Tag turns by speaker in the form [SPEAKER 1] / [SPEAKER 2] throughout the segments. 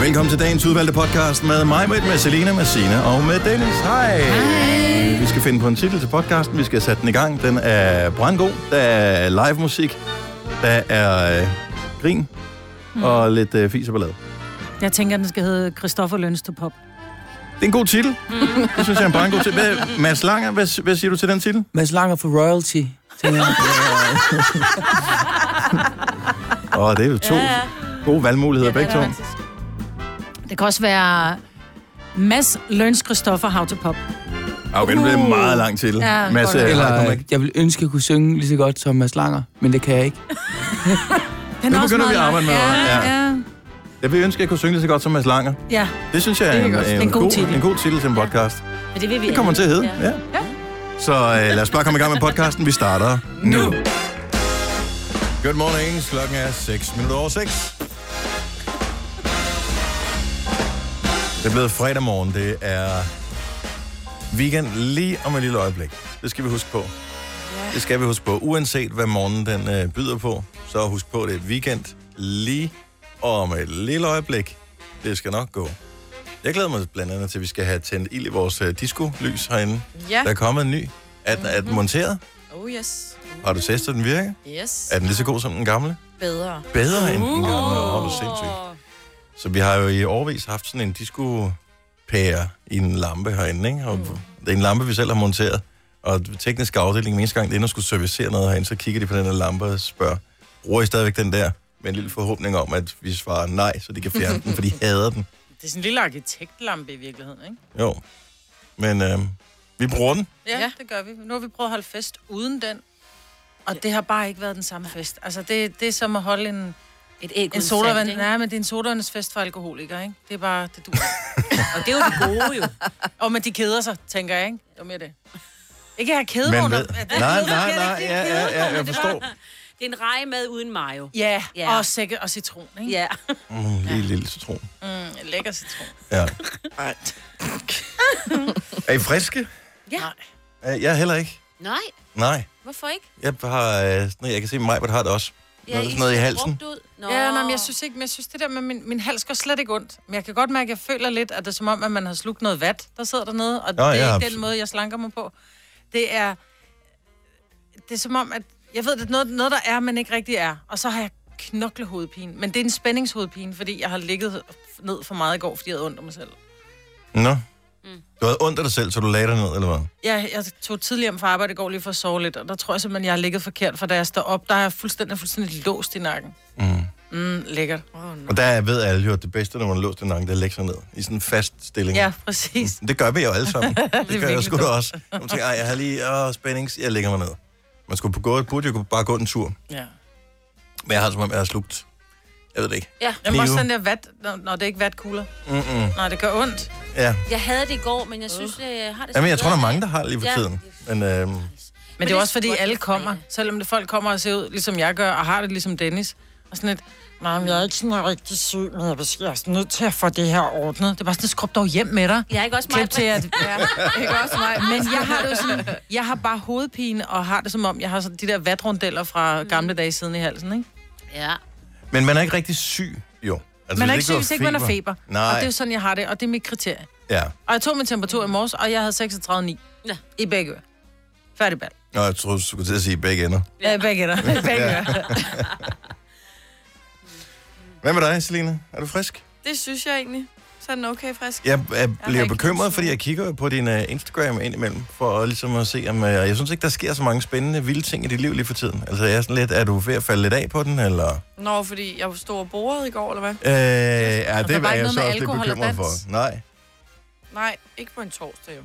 [SPEAKER 1] Velkommen til dagens udvalgte podcast med mig, med, med Selina, med Sina og med Dennis. Hej. Hej. Vi skal finde på en titel til podcasten. Vi skal sætte den i gang. Den er brandgod. Der er live musik. Der er øh, grin.
[SPEAKER 2] Mm.
[SPEAKER 1] Og lidt øh, fis og ballade.
[SPEAKER 2] Jeg tænker, den skal hedde Christoffer Løns to Pop.
[SPEAKER 1] Det er en god titel.
[SPEAKER 2] Mm.
[SPEAKER 1] Det synes jeg er en brandgod titel. Hvad, Mads Langer, hvad, hvad siger du til den titel?
[SPEAKER 3] Mads Langer for royalty. tænker jeg.
[SPEAKER 1] Åh, oh, det er jo to
[SPEAKER 2] Ja,
[SPEAKER 1] ja,
[SPEAKER 2] ja.
[SPEAKER 1] ja. gode valgmuligheder begge to.
[SPEAKER 2] Det kan også være Mads Løns Christoffer How to Pop.
[SPEAKER 1] Okay, nu bliver det en meget lang titel.
[SPEAKER 2] Ja,
[SPEAKER 1] Mads,
[SPEAKER 2] godt.
[SPEAKER 1] øh, har du
[SPEAKER 3] Eller,
[SPEAKER 1] nogen-
[SPEAKER 3] øh, jeg vil ønske, at jeg kunne synge lige så godt som Mads Langer, men det kan jeg ikke.
[SPEAKER 2] Den
[SPEAKER 1] Nu begynder vi
[SPEAKER 2] lang.
[SPEAKER 1] at arbejde med
[SPEAKER 2] ja,
[SPEAKER 1] det,
[SPEAKER 2] ja.
[SPEAKER 1] jeg vil ønske, at jeg kunne synge lige så godt som Mads Langer.
[SPEAKER 2] ja.
[SPEAKER 1] Det synes jeg er,
[SPEAKER 4] Det kan
[SPEAKER 1] en,
[SPEAKER 4] jeg godt
[SPEAKER 1] en,
[SPEAKER 2] En
[SPEAKER 1] en,
[SPEAKER 2] god
[SPEAKER 1] god,
[SPEAKER 2] titel.
[SPEAKER 1] en god titel til en podcast.
[SPEAKER 4] Men det vil vi
[SPEAKER 1] Det kommer den til at hedde, ja. ja. Så øh, lad os bare komme i gang med podcasten. Vi starter nu. Good morning. Klokken er 6 minutter over 6. Det er blevet fredag morgen. Det er weekend lige om et lille øjeblik. Det skal vi huske på. Det skal vi huske på. Uanset hvad morgenen den øh, byder på, så husk på, det er weekend lige om et lille øjeblik. Det skal nok gå. Jeg glæder mig blandt andet til, at vi skal have tændt ild i vores øh, disco-lys herinde.
[SPEAKER 4] Ja.
[SPEAKER 1] Der er kommet en ny. Er den, er den monteret?
[SPEAKER 4] Oh yes.
[SPEAKER 1] Har du testet, den virker?
[SPEAKER 4] Yes.
[SPEAKER 1] Er den lige så god som den gamle?
[SPEAKER 4] Bedre.
[SPEAKER 1] Bedre end den gamle. Åh, oh, sindssygt. Så vi har jo i årvis haft sådan en disco-pære i en lampe herinde, ikke? Og Det er en lampe, vi selv har monteret. Og teknisk afdeling, den eneste gang, det ender skulle servicere noget herinde, så kigger de på den her lampe og spørger, bruger I stadigvæk den der? Med en lille forhåbning om, at vi svarer nej, så de kan fjerne den, for de hader den.
[SPEAKER 5] Det er sådan en lille arkitektlampe i virkeligheden, ikke?
[SPEAKER 1] Jo. Men øh, vi bruger den.
[SPEAKER 5] Ja,
[SPEAKER 4] Ja.
[SPEAKER 5] ja, det gør vi. Nu har vi prøvet at holde fest uden den, og det har bare ikke været den samme fest. Altså, det, det er som at holde en,
[SPEAKER 4] Et æg
[SPEAKER 5] en sodavand. Nej, men det er en sodavandsfest for alkoholikere, ikke? Det er bare, det du.
[SPEAKER 4] Og det er jo det gode jo.
[SPEAKER 5] og men de keder sig, tænker jeg, ikke? Det var mere det. Ikke at have kede
[SPEAKER 1] Men
[SPEAKER 5] under.
[SPEAKER 1] ved...
[SPEAKER 5] at-
[SPEAKER 1] Nej, nej, nej, ja, ja, ja, jeg forstår.
[SPEAKER 4] Det er en rejemad uden mayo.
[SPEAKER 5] Ja,
[SPEAKER 4] Ja.
[SPEAKER 5] yeah. og sække og citron, ikke?
[SPEAKER 4] Ja.
[SPEAKER 1] Mm, lige en lille citron.
[SPEAKER 5] Yeah. Lækker citron.
[SPEAKER 1] Ja. Er I friske?
[SPEAKER 4] Ja.
[SPEAKER 1] Øh, Jeg er heller ikke.
[SPEAKER 4] Nej,
[SPEAKER 1] Nej.
[SPEAKER 4] hvorfor ikke?
[SPEAKER 1] Jeg har... øh, nej, Jeg kan se, at Majbert har det også. Nå, det er sådan noget i
[SPEAKER 4] ser
[SPEAKER 1] halsen.
[SPEAKER 4] brugt ud. Nå.
[SPEAKER 5] Ja, nej, men jeg synes ikke, men jeg synes det der med min, min hals går slet ikke ondt. Men jeg kan godt mærke, at jeg føler lidt, at det er som om, at man har slugt noget vat, der sidder dernede. Og
[SPEAKER 1] Nå,
[SPEAKER 5] Nå, det er
[SPEAKER 1] ja,
[SPEAKER 5] ikke
[SPEAKER 1] absolut.
[SPEAKER 5] den måde, jeg slanker mig på. Det er, det er som om, at jeg ved, at det er noget, noget, der er, men ikke rigtig er. Og så har jeg knoklehovedpine. Men det er en spændingshovedpine, fordi jeg har ligget ned for meget i går, fordi jeg havde ondt af mig selv.
[SPEAKER 1] Nå. Du havde ondt af dig selv, så du lagde dig ned, eller hvad?
[SPEAKER 5] Jeg, jeg tog tidligere hjem fra arbejde i går lige for at sove lidt, og der tror jeg simpelthen, jeg har ligget forkert, for da jeg står op, der er jeg fuldstændig, fuldstændig låst i nakken.
[SPEAKER 1] Mm.
[SPEAKER 5] Mm, lækkert.
[SPEAKER 1] Og der ved alle jo, at det bedste, når man låser den nakken, det er at lægge sig ned i sådan en fast stilling.
[SPEAKER 5] Ja, præcis.
[SPEAKER 1] Det gør vi jo alle sammen. det gør jeg
[SPEAKER 5] virkelig
[SPEAKER 1] sgu da også. Når Man tænker, "Ej, jeg har lige åh, spændings, jeg lægger mig ned. Man skulle på gå, burde jo bare gå en tur.
[SPEAKER 5] Ja.
[SPEAKER 1] Men jeg har som om, jeg har slugt. Jeg ved det ikke.
[SPEAKER 4] Ja.
[SPEAKER 5] Jamen
[SPEAKER 1] Knive.
[SPEAKER 5] også den der vat, når, når det er ikke vatkugler.
[SPEAKER 1] Mm-mm.
[SPEAKER 5] Nej, det gør ondt.
[SPEAKER 1] Ja.
[SPEAKER 4] Jeg havde det i går, men jeg synes, det har det...
[SPEAKER 1] Jamen, jeg
[SPEAKER 4] sgu
[SPEAKER 1] tror, der er
[SPEAKER 4] bedre.
[SPEAKER 1] mange, der har lige for
[SPEAKER 4] Ja.
[SPEAKER 1] tiden. Men øhm,
[SPEAKER 5] Men, det er
[SPEAKER 4] det
[SPEAKER 5] også
[SPEAKER 4] er
[SPEAKER 5] fordi,
[SPEAKER 4] godt
[SPEAKER 5] alle
[SPEAKER 4] for
[SPEAKER 5] kommer.
[SPEAKER 4] fredag.
[SPEAKER 5] Selvom det folk kommer og ser ud, ligesom jeg gør, og har det ligesom Dennis. Og sådan et, nej, men jeg er ikke sådan rigtig syg, men jeg er bes- jeg er sådan nødt til at få det her ordnet. Det er bare sådan, skrub dog hjem med dig.
[SPEAKER 4] Jeg er ikke også
[SPEAKER 5] Klip til,
[SPEAKER 4] meget...
[SPEAKER 5] at... Ja, ikke også mig. Men jeg har det jo sådan, jeg har bare hovedpine, og har det som om, jeg har sådan de der vatrundeller fra gamle dage siden i halsen, ikke?
[SPEAKER 4] Ja.
[SPEAKER 1] Men man er ikke rigtig syg, jo. Altså,
[SPEAKER 5] Man er ikke
[SPEAKER 1] hvis
[SPEAKER 5] syg, hvis ikke man har feber. Og det er
[SPEAKER 1] Nej,
[SPEAKER 5] jo sådan, jeg har det, og det er mit kriterie.
[SPEAKER 1] ja.
[SPEAKER 5] Og jeg tog min temperatur i morges, og jeg havde 36,9
[SPEAKER 4] Ja.
[SPEAKER 5] i begge ører. Færdig bad.
[SPEAKER 1] Nå, jeg tror, du skulle til at sige begge ender.
[SPEAKER 5] Ja, begge der. Begge der.
[SPEAKER 1] Hvad med dig, Selina? Er du frisk?
[SPEAKER 6] Det synes jeg egentlig. Så er den okay frisk.
[SPEAKER 1] Jeg, jeg bliver
[SPEAKER 6] ikke
[SPEAKER 1] bekymret,
[SPEAKER 6] frisk.
[SPEAKER 1] fordi jeg kigger jo på din uh, Instagram indimellem, for at, ligesom at se, om... Uh, jeg synes ikke, der sker så mange spændende, vilde ting i dit liv lige for tiden. Altså, jeg er sådan lidt... Er du ved at falde lidt af på den, eller...
[SPEAKER 6] Nå, fordi jeg stod og borede i går, eller hvad?
[SPEAKER 1] Øh, ja,
[SPEAKER 5] Og
[SPEAKER 1] det
[SPEAKER 5] der
[SPEAKER 1] er
[SPEAKER 5] var ikke
[SPEAKER 1] jeg
[SPEAKER 5] noget
[SPEAKER 1] så
[SPEAKER 5] med
[SPEAKER 1] også lidt
[SPEAKER 5] alkohol og
[SPEAKER 1] bekymret
[SPEAKER 5] dans?
[SPEAKER 1] for. Nej.
[SPEAKER 6] Nej, ikke på en torsdag jo.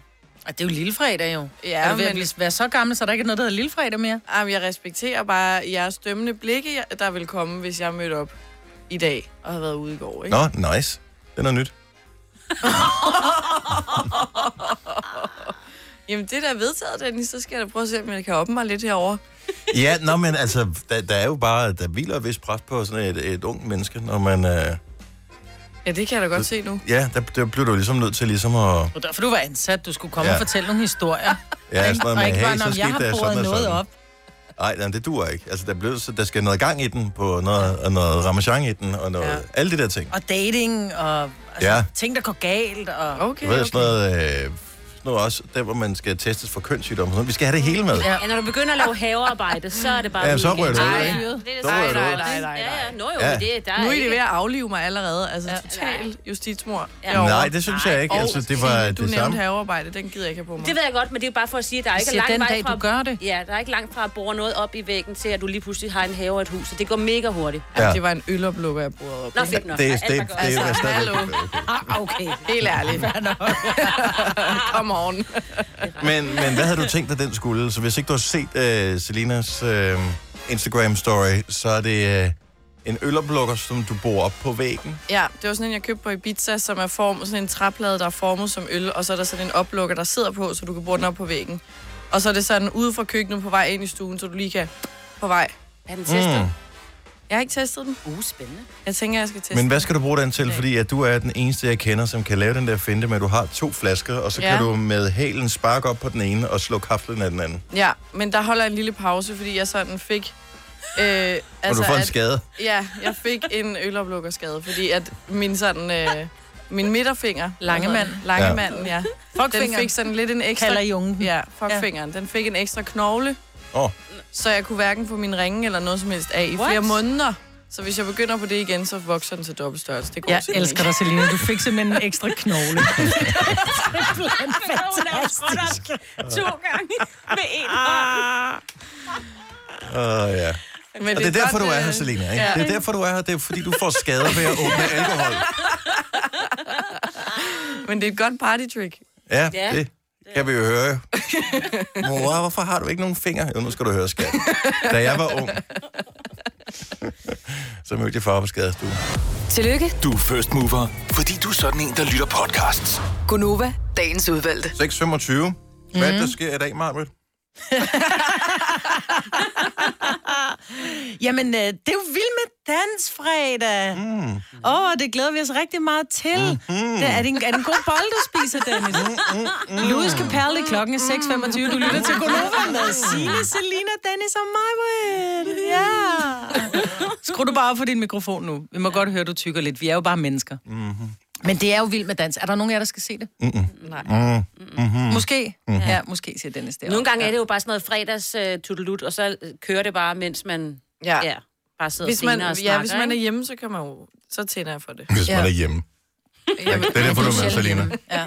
[SPEAKER 5] Og det er jo lillefredag jo. Ja, er
[SPEAKER 6] Ja,
[SPEAKER 5] du ved at
[SPEAKER 6] men-
[SPEAKER 5] blive- være så gammel, så der ikke er noget, der hedder lillefredag mere?
[SPEAKER 6] Jamen, jeg respekterer bare jeres dømmende blikke, jeg- der vil komme, hvis jeg mødte op i dag og havde været ude i går, ikke?
[SPEAKER 1] Nå, nice. Det er noget nyt.
[SPEAKER 6] Jamen, det der er vedtaget, Dennis, så skal jeg da prøve at se, om jeg kan åbne mig lidt herover.
[SPEAKER 1] Ja, nå, men altså, der, der er jo bare... Der hviler et vist pres på sådan et, et ung menneske, når man... Øh,
[SPEAKER 6] Ja, det kan jeg da godt se nu.
[SPEAKER 1] ja, der, der bliver du ligesom nødt til ligesom at...
[SPEAKER 5] Det var derfor, du var ansat. Du skulle komme
[SPEAKER 1] Ja.
[SPEAKER 5] ja. og fortælle nogle historier.
[SPEAKER 1] Ja, sådan noget
[SPEAKER 5] og
[SPEAKER 1] med,
[SPEAKER 5] ikke
[SPEAKER 1] hey,
[SPEAKER 5] bare,
[SPEAKER 1] så
[SPEAKER 5] når
[SPEAKER 1] skete
[SPEAKER 5] jeg har
[SPEAKER 1] der
[SPEAKER 5] boret
[SPEAKER 1] sådan og
[SPEAKER 5] noget
[SPEAKER 1] sådan.
[SPEAKER 5] op.
[SPEAKER 1] Nej, nej, det duer ikke. Altså, der, blev, så der skal noget gang i den, på noget, og noget ramachan i den, og noget, ja.
[SPEAKER 5] Ja.
[SPEAKER 1] alle de der ting.
[SPEAKER 5] Og dating, og altså,
[SPEAKER 1] Ja.
[SPEAKER 5] ja. ting, der går galt, og...
[SPEAKER 1] Du
[SPEAKER 6] Okay,
[SPEAKER 1] ved,
[SPEAKER 6] okay.
[SPEAKER 1] sådan noget, øh, sådan noget også, der hvor man skal testes for kønssygdomme. og sådan noget. Vi skal have det hele med.
[SPEAKER 4] Ja, når du begynder at lave havearbejde, så er det bare...
[SPEAKER 1] Ja, så rører det ud,
[SPEAKER 4] Nej,
[SPEAKER 1] ikke? Så rører
[SPEAKER 4] nej,
[SPEAKER 1] det
[SPEAKER 4] nej,
[SPEAKER 1] ud.
[SPEAKER 4] nej, nej. Ja, ja, nå jo,
[SPEAKER 1] Ja.
[SPEAKER 4] men det, der er
[SPEAKER 6] Nu er
[SPEAKER 4] ikke-
[SPEAKER 6] det ved at aflive mig allerede. Altså, ja.
[SPEAKER 4] Nej.
[SPEAKER 6] totalt justitsmor.
[SPEAKER 4] Ja.
[SPEAKER 6] derovre.
[SPEAKER 1] Nej, det synes jeg ikke.
[SPEAKER 6] Og
[SPEAKER 1] Altså, det var
[SPEAKER 6] Signe, du
[SPEAKER 1] det
[SPEAKER 6] nævnte
[SPEAKER 1] samme.
[SPEAKER 6] havearbejde, den gider jeg ikke have på mig.
[SPEAKER 4] Det ved jeg godt, men det er jo bare for at sige, at der er ikke
[SPEAKER 5] Siger
[SPEAKER 4] lang
[SPEAKER 5] den
[SPEAKER 4] vej
[SPEAKER 5] dag,
[SPEAKER 4] fra...
[SPEAKER 5] du gør det.
[SPEAKER 4] Ja, der er ikke langt fra at bore noget op i væggen til, at du lige pludselig har en have og et hus. Så det går mega hurtigt.
[SPEAKER 1] Ja.
[SPEAKER 6] ja. det var en øloplukker, jeg brugte op.
[SPEAKER 4] Nå, fedt nok.
[SPEAKER 1] Det,
[SPEAKER 4] Ja,
[SPEAKER 1] det,
[SPEAKER 4] alt
[SPEAKER 1] det,
[SPEAKER 4] var godt.
[SPEAKER 1] det er
[SPEAKER 6] Altså,
[SPEAKER 1] stadigvæk.
[SPEAKER 6] hallo.
[SPEAKER 5] Ah, okay.
[SPEAKER 6] Helt ærligt. Come on.
[SPEAKER 1] Men, men hvad havde du tænkt dig, den skulle? Så hvis ikke du har set øh, Selinas øh, Instagram-story, så er det øh, en øloplukker, som du bor op på væggen.
[SPEAKER 6] Ja, det var sådan en, jeg købte på Ibiza, som er form, sådan en træplade, der er formet som øl, og så er der sådan en oplukker, der sidder på, så du kan bruge den op på væggen. Og så er det sådan ude fra køkkenet på vej ind i stuen, så du lige kan på vej.
[SPEAKER 4] Er den testet?
[SPEAKER 1] Mm.
[SPEAKER 6] Jeg har ikke testet den.
[SPEAKER 4] Mm. Uh, spændende.
[SPEAKER 6] Jeg tænker, jeg skal teste
[SPEAKER 1] Men hvad skal du bruge den til? Fordi at du er den eneste, jeg kender, som kan lave den der finte med, at du har to flasker, og så ja.
[SPEAKER 6] Ja.
[SPEAKER 1] kan du med halen sparke op på den ene og slå kaflen af den anden.
[SPEAKER 6] den. Ja, men der holder jeg en lille pause, fordi jeg sådan fik... Øh, altså,
[SPEAKER 1] Altså, og du får en
[SPEAKER 6] at-
[SPEAKER 1] skade.
[SPEAKER 6] Ja, jeg fik en øloplukkerskade, fordi at min sådan... Øh, min midterfinger.
[SPEAKER 5] Langemand.
[SPEAKER 6] Langemanden, ja. Den fik sådan lidt en ekstra...
[SPEAKER 5] kalder I ungen.
[SPEAKER 6] Ja, fuckfingeren. Den fik en ekstra knogle,
[SPEAKER 1] Åh, oh,
[SPEAKER 6] så jeg kunne hverken få min ringe eller noget som helst af i
[SPEAKER 4] What?
[SPEAKER 6] flere måneder. Så hvis jeg begynder på det igen, så vokser den til dobbelt størrelse. Det går
[SPEAKER 5] Jeg
[SPEAKER 6] simpelthen
[SPEAKER 5] elsker
[SPEAKER 6] ikke.
[SPEAKER 5] dig, Selina. Du fik simpelthen en ekstra knogle.
[SPEAKER 4] Hun er fantastisk. Ah. to gange med en hånd.
[SPEAKER 1] uh, ja.
[SPEAKER 6] Men
[SPEAKER 1] Og det er derfor,
[SPEAKER 6] godt,
[SPEAKER 1] du er her,
[SPEAKER 6] øh,
[SPEAKER 1] Selina. Ikke?
[SPEAKER 6] ja.
[SPEAKER 1] Det er derfor, du er her. Det er fordi, du får skader ved at åbne alkohol.
[SPEAKER 6] Men det er et godt partytrick.
[SPEAKER 1] Ja,
[SPEAKER 4] Ja.
[SPEAKER 1] det kan vi jo høre. Mor, hvorfor har du ikke nogen fingre? Jo, nu skal du høre, skat. Da jeg var ung, så mødte jeg far på skadestuen.
[SPEAKER 7] Tillykke,
[SPEAKER 8] Du er first mover, fordi du er sådan en, der lytter podcasts.
[SPEAKER 7] Gunova, dagens udvalgte.
[SPEAKER 1] 6.25. Hvad er det, der sker i dag, Marvitt?
[SPEAKER 5] Jamen, øh, det er jo vild med dansfredag. Åh, mm. oh, det glæder vi os rigtig meget til. Mm-hmm. Det, er, det en, er det en god bold, du spiser, Dennis? Mm, mm, Louis Capaldi, klokken er 6.25. Du lytter til Gonova med Signe, Selina, Dennis og mig. Ja. Skru du bare op for din mikrofon nu. Vi må godt høre, du tykker lidt. Vi er jo bare mennesker. Mm-hmm. Men det er jo vild med dans. Er der nogen af jer, der skal se det? Mm-mm. Nej. Mm-hmm. Måske. Mm-hmm. Ja, måske, siger Dennis derovre.
[SPEAKER 4] Nogle gange er det jo bare sådan noget fredags uh, tutelut, og så øh, kører det bare, mens man
[SPEAKER 6] Ja.
[SPEAKER 4] ja, bare sidder
[SPEAKER 6] Hvis
[SPEAKER 4] og
[SPEAKER 6] man,
[SPEAKER 4] griner og snakker.
[SPEAKER 6] ja, hvis man er
[SPEAKER 4] ikke?
[SPEAKER 6] hjemme, så kan man jo... Så tænder jeg for det.
[SPEAKER 1] Hvis man
[SPEAKER 5] Ja.
[SPEAKER 1] er hjemme. Det er derfor, du er med, Selina.
[SPEAKER 4] Ja.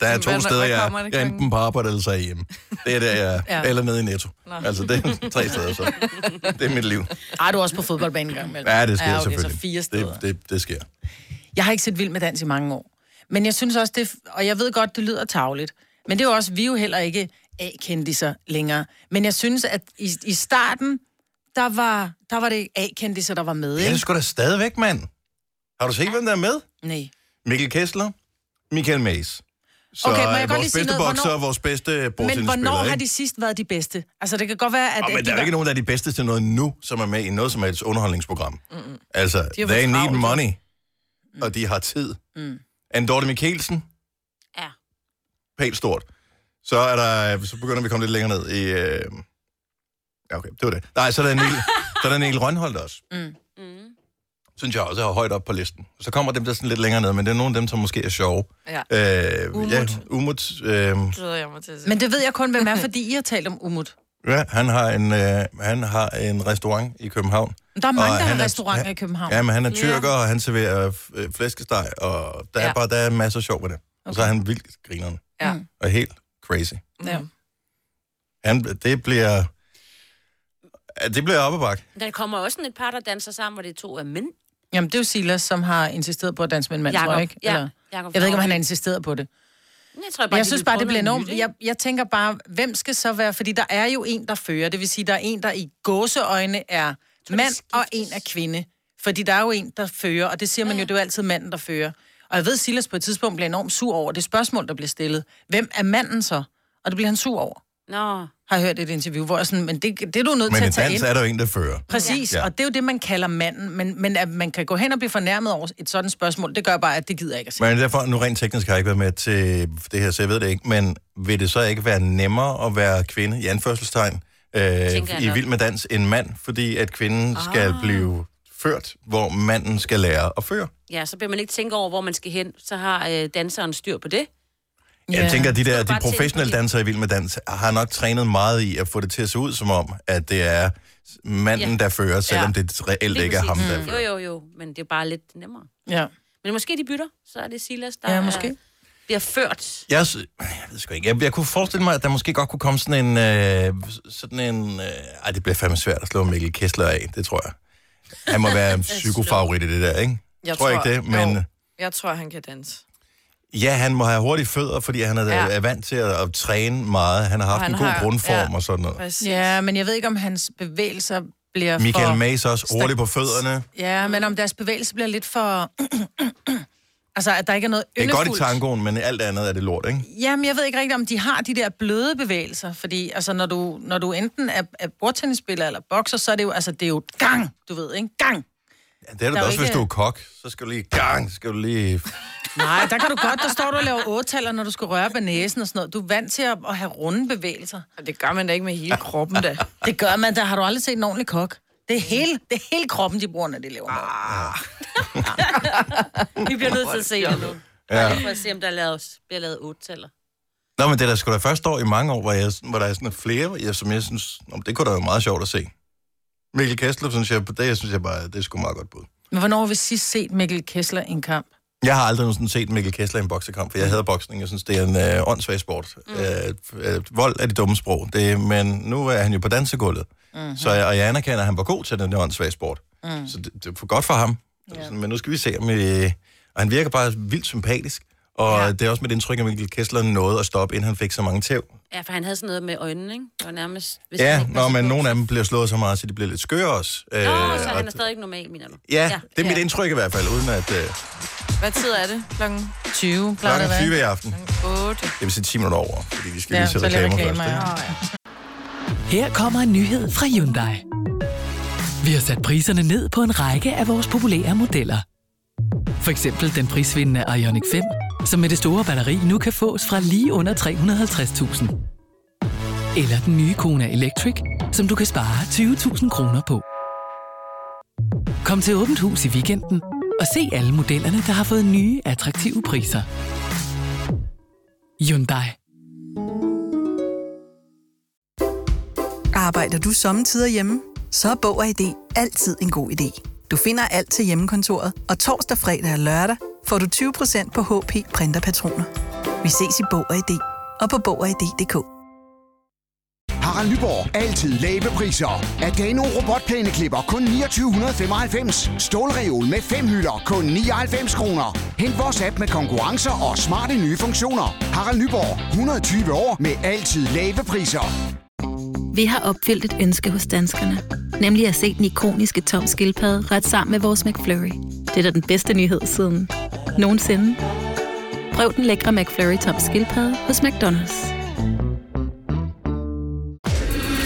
[SPEAKER 1] Der er to
[SPEAKER 6] Hvad-
[SPEAKER 1] steder,
[SPEAKER 6] hvad
[SPEAKER 1] jeg,
[SPEAKER 6] kommer det
[SPEAKER 1] jeg er
[SPEAKER 6] klokken?
[SPEAKER 1] enten på arbejde eller så er jeg hjemme. Det er der, jeg er.
[SPEAKER 5] Ja.
[SPEAKER 1] Eller nede i Netto. Altså, det er tre steder, så. Det er mit liv.
[SPEAKER 5] Ej, du er også på fodboldbanen en gang imellem.
[SPEAKER 1] Ja, det sker
[SPEAKER 5] ja, okay,
[SPEAKER 1] selvfølgelig.
[SPEAKER 5] Så fire steder.
[SPEAKER 1] det, det, det sker.
[SPEAKER 5] Jeg har ikke set Vild med Dans i mange år. Men jeg synes også, det, og jeg ved godt, det lyder tavligt, men det er jo også, vi er jo heller ikke A-kendiser længere. Men jeg synes, at i, i starten, der var, der var det A-kendiser, der var med,
[SPEAKER 1] Ja, det er
[SPEAKER 5] ikke?
[SPEAKER 1] sgu da stadigvæk, mand. Har du set, hvem der er med?
[SPEAKER 5] Nej.
[SPEAKER 1] Mikkel Kessler, Michael Mays. Så
[SPEAKER 5] Okay, må jeg
[SPEAKER 1] øh,
[SPEAKER 5] godt
[SPEAKER 1] vores
[SPEAKER 5] lige sige
[SPEAKER 1] bedste
[SPEAKER 5] noget?
[SPEAKER 1] bokser
[SPEAKER 5] Hvornår-
[SPEAKER 1] og vores bedste
[SPEAKER 5] Men hvornår
[SPEAKER 1] bordtennisspiller,
[SPEAKER 5] har
[SPEAKER 1] ikke?
[SPEAKER 5] de sidst været de bedste? Altså, det kan godt være, at...
[SPEAKER 1] Og,
[SPEAKER 5] at de
[SPEAKER 1] men der er jo
[SPEAKER 5] var-
[SPEAKER 1] ikke nogen, der er de bedste til noget nu, som er med i noget som helst underholdningsprogram. Mm-mm. Altså,
[SPEAKER 6] jo
[SPEAKER 1] they
[SPEAKER 6] for
[SPEAKER 1] need
[SPEAKER 6] travlt,
[SPEAKER 1] money, mm. og de har tid. Mm. Andorte Mikkelsen,
[SPEAKER 4] ja.
[SPEAKER 1] pænt stort. Så, er der, så begynder vi at komme lidt længere ned i... Øh... Ja, okay, det var det. Nej, så er der Niel, så er der Niel Rønholdt også. Mm. Mm. Synes jeg også er højt op på listen. Så kommer dem der sådan lidt længere ned, men det er nogle af dem, som måske er sjove.
[SPEAKER 6] Ja.
[SPEAKER 1] Øh,
[SPEAKER 6] Umut.
[SPEAKER 1] Ja, Umut øh,
[SPEAKER 6] Så glæder jeg mig til at se.
[SPEAKER 5] Men det ved jeg kun, hvem er, fordi I har talt om Umut.
[SPEAKER 1] ja, han, har en, øh, han har en restaurant i København.
[SPEAKER 5] Men Der er mange,
[SPEAKER 1] Og
[SPEAKER 5] der
[SPEAKER 1] han
[SPEAKER 5] har
[SPEAKER 1] er-
[SPEAKER 5] restauranter
[SPEAKER 1] ja.
[SPEAKER 5] i København.
[SPEAKER 1] Ja, men han er tyrker, og han serverer øh, flæskesteg, og der er
[SPEAKER 6] Ja.
[SPEAKER 1] bare der er masser af sjov ved det. Og så er han vildt grineren.
[SPEAKER 6] Ja.
[SPEAKER 1] Og helt crazy.
[SPEAKER 5] Ja.
[SPEAKER 1] Han, det bliver... Ja, Det bliver op ad bakke.
[SPEAKER 4] Der kommer også sådan et par, der danser sammen, hvor det er to af mænd.
[SPEAKER 5] Jamen, det er jo Silas, som har insisteret på at danse med en mand, tror jeg, ikke?
[SPEAKER 4] Ja, Jacob
[SPEAKER 5] Jeg ved ikke, om han har insisteret på det.
[SPEAKER 4] Jeg, tror
[SPEAKER 5] Men
[SPEAKER 4] bare,
[SPEAKER 5] jeg
[SPEAKER 4] de
[SPEAKER 5] synes
[SPEAKER 4] vil
[SPEAKER 5] bare,
[SPEAKER 4] prøve
[SPEAKER 5] det bliver
[SPEAKER 4] noget
[SPEAKER 5] enormt.
[SPEAKER 4] nyt, ikke?
[SPEAKER 5] Jeg, jeg tænker bare, hvem skal så være? Fordi der er jo en, der fører. Det vil sige, der er en, der i gåseøjne er mand, og en er kvinde. Fordi der er jo en, der fører, og det siger man jo, det er jo altid manden, der fører. Og jeg ved, Silas på et tidspunkt bliver enormt sur over det spørgsmål, der bliver stillet. Hvem er manden så? Og det bliver han sur over,
[SPEAKER 4] Nå.
[SPEAKER 5] har jeg hørt i et interview, hvor jeg sådan, men det, det er du nødt
[SPEAKER 1] Men
[SPEAKER 5] til
[SPEAKER 1] i
[SPEAKER 5] at tage
[SPEAKER 1] dans
[SPEAKER 5] ind.
[SPEAKER 1] er der jo en, der fører.
[SPEAKER 5] Præcis,
[SPEAKER 1] Ja.
[SPEAKER 5] ja. og det er jo det, man kalder manden. Men, men at man kan gå hen og blive fornærmet over et sådan spørgsmål, det gør bare, at det gider jeg ikke at sige.
[SPEAKER 1] Men derfor, nu rent teknisk har jeg ikke været med til det her, så jeg ved det ikke. Men vil det så ikke være nemmere at være kvinde, i anførselstegn, øh,
[SPEAKER 4] jeg
[SPEAKER 1] i
[SPEAKER 4] nok.
[SPEAKER 1] Vild med Dans en mand, fordi at kvinden skal blive ført, hvor manden skal lære at føre.
[SPEAKER 4] Ja, så bliver man ikke tænke over, hvor man skal hen. Så har øh, danseren styr på det.
[SPEAKER 1] Jeg tænker, at de der
[SPEAKER 4] bare
[SPEAKER 1] de
[SPEAKER 4] tænke på
[SPEAKER 1] professionelle
[SPEAKER 4] det.
[SPEAKER 1] dansere i Vild med Dans har nok trænet meget i at få det til at se ud som om, at det er manden,
[SPEAKER 4] Ja.
[SPEAKER 1] der fører, selvom
[SPEAKER 6] Ja.
[SPEAKER 1] det reelt ikke er ham,
[SPEAKER 4] præcis. Mm.
[SPEAKER 1] der
[SPEAKER 4] Jo,
[SPEAKER 1] fører.
[SPEAKER 4] jo, jo. Men det er bare lidt nemmere.
[SPEAKER 6] Ja.
[SPEAKER 4] Men måske de bytter. Så er det Silas, der
[SPEAKER 6] Ja, måske.
[SPEAKER 4] Er, bliver ført.
[SPEAKER 1] Jeg, sy- jeg ved sgu ikke. Jeg, jeg kunne forestille mig, at der måske godt kunne komme sådan en... Øh, sådan en øh, ej, det bliver fandme svært at slå Mikkel Kessler af. Det tror jeg. Han må være en psykofavorit i det der, ikke?
[SPEAKER 6] Jeg
[SPEAKER 1] tror, ikke det, men...
[SPEAKER 6] Jo, jeg tror, han kan danse.
[SPEAKER 1] Ja, han må have hurtige fødder, fordi han er,
[SPEAKER 6] Ja.
[SPEAKER 1] er vant til at, at træne meget. Han har haft
[SPEAKER 6] han
[SPEAKER 1] en god
[SPEAKER 6] har-
[SPEAKER 1] grundform
[SPEAKER 6] ja.
[SPEAKER 1] og sådan noget.
[SPEAKER 6] Præcis.
[SPEAKER 5] Ja, men jeg ved ikke, om hans bevægelser bliver for...
[SPEAKER 1] Michael Mays også hurtig på fødderne.
[SPEAKER 5] Ja, men om deres bevægelse bliver lidt for... altså, at der ikke er noget
[SPEAKER 1] Det er godt i
[SPEAKER 5] yndefuldt.
[SPEAKER 1] tangoen, men alt andet er det lort, ikke?
[SPEAKER 5] Jamen, jeg ved ikke rigtigt, om de har de der bløde bevægelser, fordi altså, når, du, når du enten er, er bordtennisspiller eller bokser, så er det jo, altså, det er jo gang, du ved, ikke? Gang!
[SPEAKER 1] Ja, det er det
[SPEAKER 5] Der er
[SPEAKER 1] da
[SPEAKER 5] jo
[SPEAKER 1] også, hvis
[SPEAKER 5] ikke-
[SPEAKER 1] du er kok. Så skal du lige gang, så skal du lige...
[SPEAKER 5] Nej, der kan du godt, der står du og laver åtaler, når du skal røre på næsen og sådan noget. Du er vant til at, at have runde bevægelser.
[SPEAKER 6] Og det gør man da ikke med hele kroppen, da.
[SPEAKER 5] Det gør man, der har du aldrig set en ordentlig kok. Det er hele, det er hele kroppen, de bruger, når de laver mad. Ah.
[SPEAKER 4] Vi bliver nødt til at se det nu.
[SPEAKER 1] Ja.
[SPEAKER 4] For at se, om der er lavet, bliver lavet otte taler.
[SPEAKER 1] Nå, men det er da sgu da første år i mange år, hvor, jeg, hvor der er sådan flere, jeg, som jeg synes, nå, men det kunne da være meget sjovt at se. Mikkel Kessler, synes jeg, det synes jeg bare, det er sgu meget godt bud.
[SPEAKER 5] Men hvornår har vi sidst set Mikkel Kessler i en kamp?
[SPEAKER 1] Jeg har aldrig nogensinde set Mikkel Kessler i en boksekamp, for jeg hader boksning. Jeg synes, det er en øh, åndssvag sport. Mm. Øh, øh, vold er det dumme sprog. Det, men nu er han jo på dansegulvet. Mm-hmm. Så, jeg- og jeg anerkender, at han var god til den der åndssvage sport. Mm. Så det, det er for godt for ham. Yeah. Men nu skal vi se, om... Øh, og han virker bare vildt sympatisk. Og ja. det er også mit indtryk, at Mikkel Kessler nåede at stoppe, inden han fik så mange tæv.
[SPEAKER 4] Ja, for han havde sådan noget med øjnene, ikke? Det var nærmest... Hvis han
[SPEAKER 1] Ja,
[SPEAKER 4] ikke
[SPEAKER 1] nå,
[SPEAKER 4] passede
[SPEAKER 1] men
[SPEAKER 4] på.
[SPEAKER 1] nogle af dem bliver slået så meget, så de bliver lidt skøre også. Øh,
[SPEAKER 4] Nå, så
[SPEAKER 1] og-
[SPEAKER 4] han altså- er stadig ikke normal, mener du?
[SPEAKER 1] Ja, det er mit indtryk i hvert fald, uden at øh,
[SPEAKER 6] Hvad tid er det? Klokken
[SPEAKER 5] 20, plejer det
[SPEAKER 1] klokken
[SPEAKER 5] at
[SPEAKER 1] 20
[SPEAKER 5] være.
[SPEAKER 1] i aften.
[SPEAKER 6] 8.
[SPEAKER 1] Det vil sige 10 minutter over, fordi vi skal
[SPEAKER 5] Ja,
[SPEAKER 1] lige til
[SPEAKER 5] så lidt
[SPEAKER 1] reklamer
[SPEAKER 5] reklamer,
[SPEAKER 1] først. ikke?
[SPEAKER 5] ja.
[SPEAKER 9] Her kommer en nyhed fra Hyundai. Vi har sat priserne ned på en række af vores populære modeller. For eksempel den prisvindende Ioniq 5, som med det store batteri nu kan fås fra lige under 350.000. Eller den nye Kona Electric, som du kan spare 20.000 kroner på. Kom til Åbent Hus i weekenden og se alle modellerne, der har fået nye, attraktive priser. Hyundai.
[SPEAKER 10] Arbejder du sommetider hjemme? Så er Bog og ID altid en god idé. Du finder alt til hjemmekontoret, og torsdag, fredag og lørdag får du 20% på HP Printerpatroner. Vi ses i Bog og ID og på Bog og ID.dk.
[SPEAKER 8] Harald Nyborg. Altid lave priser. Adano robotplæneklipper kun 2995. Stålreol med fem hylder kun 99 kroner. Hent vores app med konkurrencer og smarte nye funktioner. Harald Nyborg. 120 år med altid lave priser.
[SPEAKER 11] Vi har opfyldt et ønske hos danskerne. Nemlig at se den ikoniske tom skildpadde ret sammen med vores McFlurry. Det er da den bedste nyhed siden nogensinde. Prøv den lækre McFlurry tom skildpadde hos McDonald's.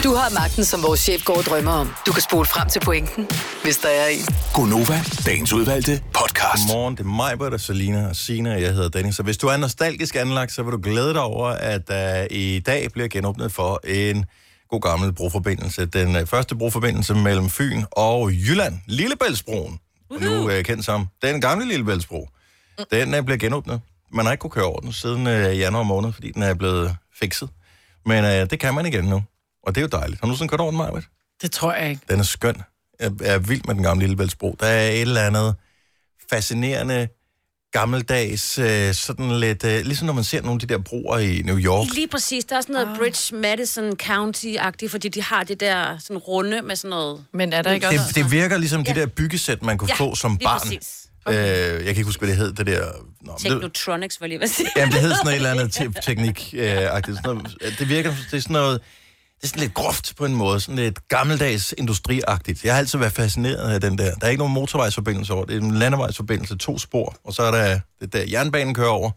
[SPEAKER 7] Du har magten, som vores chef går og drømmer om. Du kan spole frem til pointen, hvis der er en.
[SPEAKER 8] Gonova. Dagens udvalgte podcast.
[SPEAKER 1] Godmorgen, det er Majbert og Selina og Sina, og jeg hedder Dennis. Så hvis du er nostalgisk anlagt, så vil du glæde dig over, at der i dag bliver genåbnet for en god gammel broforbindelse. Den øh, første broforbindelse mellem Fyn og Jylland, Lillebæltsbroen, uh-huh. nu øh, kendt som den gamle Lillebæltsbro. Den øh, bliver genåbnet. Man har ikke kunne køre over den siden øh, januar måned, fordi den er blevet fikset. Men øh, det kan man igen nu, og det er jo dejligt. Har du nogensinde kørt over den, Majbert?
[SPEAKER 5] Det tror jeg ikke.
[SPEAKER 1] Den er skøn. Jeg er vild med den gamle Lillebæltsbro. Der er et eller andet fascinerende, gammeldags, øh, sådan lidt... Øh, ligesom når man ser nogle af de der broer i New York.
[SPEAKER 4] Lige præcis. Der er sådan noget Bridge Madison County-agtigt, fordi de har det der sådan runde med sådan noget...
[SPEAKER 6] Men er der ikke også...
[SPEAKER 1] Det, det virker ligesom de der byggesæt, man kunne
[SPEAKER 4] Ja,
[SPEAKER 1] få som
[SPEAKER 4] lige
[SPEAKER 1] barn.
[SPEAKER 4] præcis.
[SPEAKER 1] Øh, jeg kan ikke huske, hvad det hed, det der... Nå, men det,
[SPEAKER 4] Technotronics, var jeg lige ved at sige.
[SPEAKER 1] jamen, det hed sådan noget et eller andet te- teknik øh, agtigt, sådan noget, Det virker... Det er sådan noget... Det er sådan lidt groft på en måde, sådan lidt gammeldags industriagtigt. Jeg har altid været fascineret af den der. Der er ikke nogen motorvejsforbindelse over, det er en landevejsforbindelse, to spor, og så er der det der jernbanen kører over.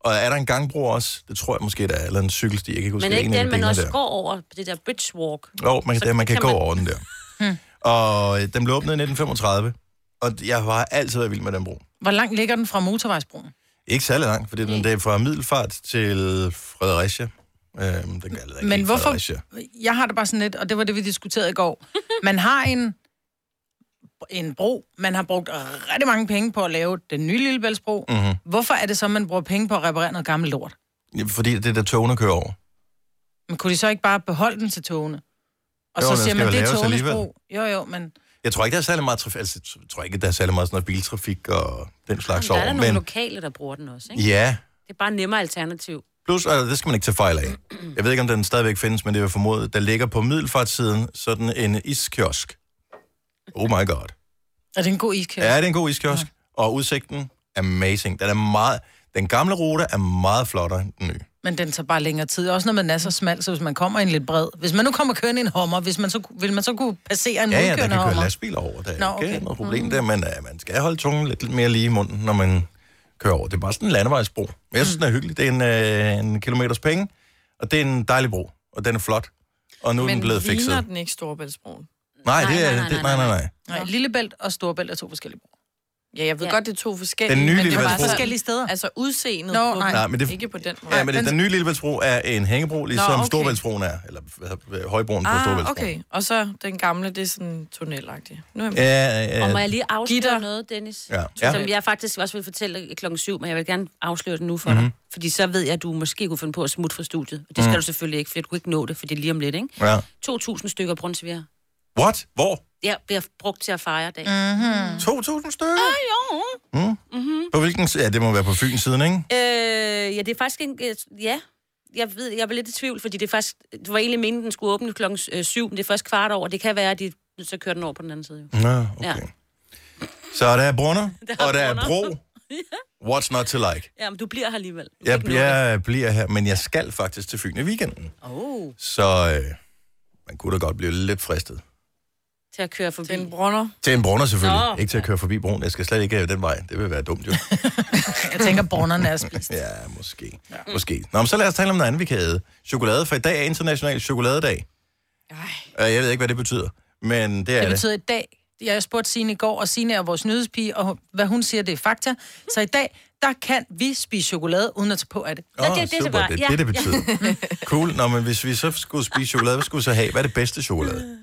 [SPEAKER 1] Og er der en gangbro også? Det tror jeg måske, der er, eller en cykelsti, jeg kan ikke huske.
[SPEAKER 4] Men
[SPEAKER 1] det er
[SPEAKER 4] ikke
[SPEAKER 1] en af
[SPEAKER 4] den,
[SPEAKER 1] de
[SPEAKER 4] man
[SPEAKER 1] dele
[SPEAKER 4] også
[SPEAKER 1] der.
[SPEAKER 4] går over på det der Bridge Walk.
[SPEAKER 1] Jo, man,
[SPEAKER 4] Så
[SPEAKER 1] det, man kan,
[SPEAKER 4] kan
[SPEAKER 1] gå
[SPEAKER 4] man- Hmm.
[SPEAKER 1] over den der. Og øh, den blev åbnet i 1935, og jeg har altid været vild med den bro.
[SPEAKER 5] Hvor langt ligger den fra motorvejsbroen?
[SPEAKER 4] Mm.
[SPEAKER 1] Ikke særlig langt, fordi den det er fra Middelfart til Fredericia. Øhm, den gælder ikke
[SPEAKER 5] Men
[SPEAKER 1] i
[SPEAKER 5] hvorfor...
[SPEAKER 1] Fredericia.
[SPEAKER 5] Jeg har det bare sådan lidt, og det var det, vi diskuterede i går. Man har en, en bro, man har brugt rigtig mange penge på at lave den nye Lillebæltsbro. Mm.
[SPEAKER 1] Mhm.
[SPEAKER 5] Hvorfor er det så, man bruger penge på at reparere noget gammelt lort?
[SPEAKER 1] Ja, Fordi det er der togene kører over.
[SPEAKER 5] Men kunne de så ikke bare beholde den til togene? Og
[SPEAKER 1] Jo,
[SPEAKER 5] jo,
[SPEAKER 1] den
[SPEAKER 5] så siger
[SPEAKER 1] skal
[SPEAKER 5] man,
[SPEAKER 1] vel
[SPEAKER 5] det er
[SPEAKER 1] laves
[SPEAKER 5] togenes
[SPEAKER 1] alligevel.
[SPEAKER 5] bro. Jo, jo, men...
[SPEAKER 1] Jeg tror ikke, der er særlig meget, traf- altså, jeg tror ikke, der er særlig meget sådan noget biltrafik og den slags
[SPEAKER 4] Der er
[SPEAKER 1] over.
[SPEAKER 4] der nogle lokale, der bruger den også, ikke?
[SPEAKER 1] ja,
[SPEAKER 4] Det er bare nemmere alternativ.
[SPEAKER 1] plus, og det skal man ikke tage fejl af. Jeg ved ikke, om den stadigvæk findes, men det vil formode, der ligger på middelfartssiden sådan en iskiosk. Oh my god.
[SPEAKER 5] Er det en god iskiosk?
[SPEAKER 1] Ja, det er en god iskiosk. Og udsigten, amazing. Den er meget... Den gamle rute er meget flottere end den nye.
[SPEAKER 5] Men den tager bare længere tid. Også når man er så smal, så hvis man kommer i en lidt bred... Hvis man nu kommer kørende i en hommer, hvis man så, vil man så kunne passere en
[SPEAKER 1] Ja, ja, der
[SPEAKER 5] modkørende
[SPEAKER 1] kan køre
[SPEAKER 5] hommer?
[SPEAKER 1] lastbiler over. Der er
[SPEAKER 5] Nå,
[SPEAKER 1] Nå, okay.
[SPEAKER 5] okay.
[SPEAKER 1] ikke noget problem der, men uh, man skal holde tungen lidt mere lige i munden, når man kører over. Det er bare sådan en landevejsbro. Men jeg synes, den er hyggelig. Det er en, uh, en kilometers penge, og det er en dejlig bro, og den er flot. Og nu er den
[SPEAKER 6] Men
[SPEAKER 1] blevet fikset.
[SPEAKER 6] ligner
[SPEAKER 1] Nej,
[SPEAKER 6] den ikke Storebæltsbroen?
[SPEAKER 1] nej, det er, nej, nej, nej, nej, nej.
[SPEAKER 5] Nej, Lillebælt og Storbælt er to forskellige broer.
[SPEAKER 6] Ja, jeg ved ja. godt, det er to forskellige.
[SPEAKER 1] Den nye
[SPEAKER 6] men det er
[SPEAKER 1] Lillebæltsbro.
[SPEAKER 6] bare
[SPEAKER 5] forskellige steder.
[SPEAKER 6] Altså udseendet
[SPEAKER 5] Nå,
[SPEAKER 6] på
[SPEAKER 5] nej.
[SPEAKER 6] den.
[SPEAKER 1] Nej, men det-
[SPEAKER 6] Ikke på den måde.
[SPEAKER 1] Ja, men det, den nye Lillebæltsbro er en hængebro, ligesom okay.
[SPEAKER 6] okay.
[SPEAKER 1] Storvældsbroen er. Eller hvad hedder- Højbroen på
[SPEAKER 6] Ah,
[SPEAKER 1] Storvældsbroen.
[SPEAKER 6] okay. Og så den gamle, det er sådan tunnelagtig. Nu er jeg med.
[SPEAKER 1] Ja, ja, ja.
[SPEAKER 4] Og må jeg lige afsløre
[SPEAKER 6] Gitter.
[SPEAKER 4] noget, Dennis?
[SPEAKER 1] Ja. Ja.
[SPEAKER 4] Som jeg faktisk også vil fortælle klokken syv, men jeg vil gerne afsløre det nu for mm-hmm. dig. Fordi så ved jeg, at du måske kunne finde på at smutte fra studiet. Og det skal
[SPEAKER 1] Mhm.
[SPEAKER 4] mm. du selvfølgelig ikke, for du kunne ikke nå det, for det er lige om lidt, ikke?
[SPEAKER 1] Ja.
[SPEAKER 4] 2.000 stykker brunsviger.
[SPEAKER 1] What? Hvor?
[SPEAKER 4] Ja, bliver brugt til at fejre dag.
[SPEAKER 5] Mm-hmm.
[SPEAKER 1] 2.000 stykker?
[SPEAKER 4] Ah, jo.
[SPEAKER 1] Mm.
[SPEAKER 4] Mm-hmm.
[SPEAKER 1] På hvilken side? Ja, det må være på Fyns siden, ikke?
[SPEAKER 4] Øh, ja, det er faktisk en... øh, Ja, jeg, ved, jeg var lidt i tvivl, fordi det er faktisk... Det var egentlig meningen, den skulle åbne klokken øh, syv, men det er først kvart over. Det kan være, at de så kører den over på den anden side. Jo.
[SPEAKER 1] Nå, okay.
[SPEAKER 4] Ja.
[SPEAKER 1] Så der er brunner,
[SPEAKER 4] Der er
[SPEAKER 1] og der er bro.
[SPEAKER 4] brunner.
[SPEAKER 1] What's not to like?
[SPEAKER 4] ja, men du bliver her alligevel. Du kan
[SPEAKER 1] Jeg,
[SPEAKER 4] ikke nå
[SPEAKER 1] jeg bliver her, men jeg skal faktisk til Fyn i weekenden.
[SPEAKER 4] det. Oh.
[SPEAKER 1] Så øh, man kunne da godt blive lidt fristet.
[SPEAKER 4] Til at køre forbi. Den
[SPEAKER 6] brunner.
[SPEAKER 1] Til en brunner selvfølgelig.
[SPEAKER 4] Nå.
[SPEAKER 1] Ikke til at køre forbi broen. Jeg skal slet ikke øh, den vej. Det vil være dumt jo.
[SPEAKER 5] Jeg tænker, bornerne er spist.
[SPEAKER 1] ja, måske. Ja. Måske. Nå, men så lad os tale om noget andet, vi kan æde. Chokolade, for i dag er international chokoladedag. Ej. Jeg ved ikke, hvad det betyder. Men det er
[SPEAKER 5] Det betyder i dag, jeg spurgte Signe i går, og Signe er vores nyhedspige, og hvad hun siger, det er fakta. Så i dag, der kan vi spise chokolade, uden at tage på af det.
[SPEAKER 1] Åh, super. Det er det, det betyder. Cool. Nå, men hvis vi så skulle spise chokolade, hvad skulle vi så have? Hvad er det bedste chokolade?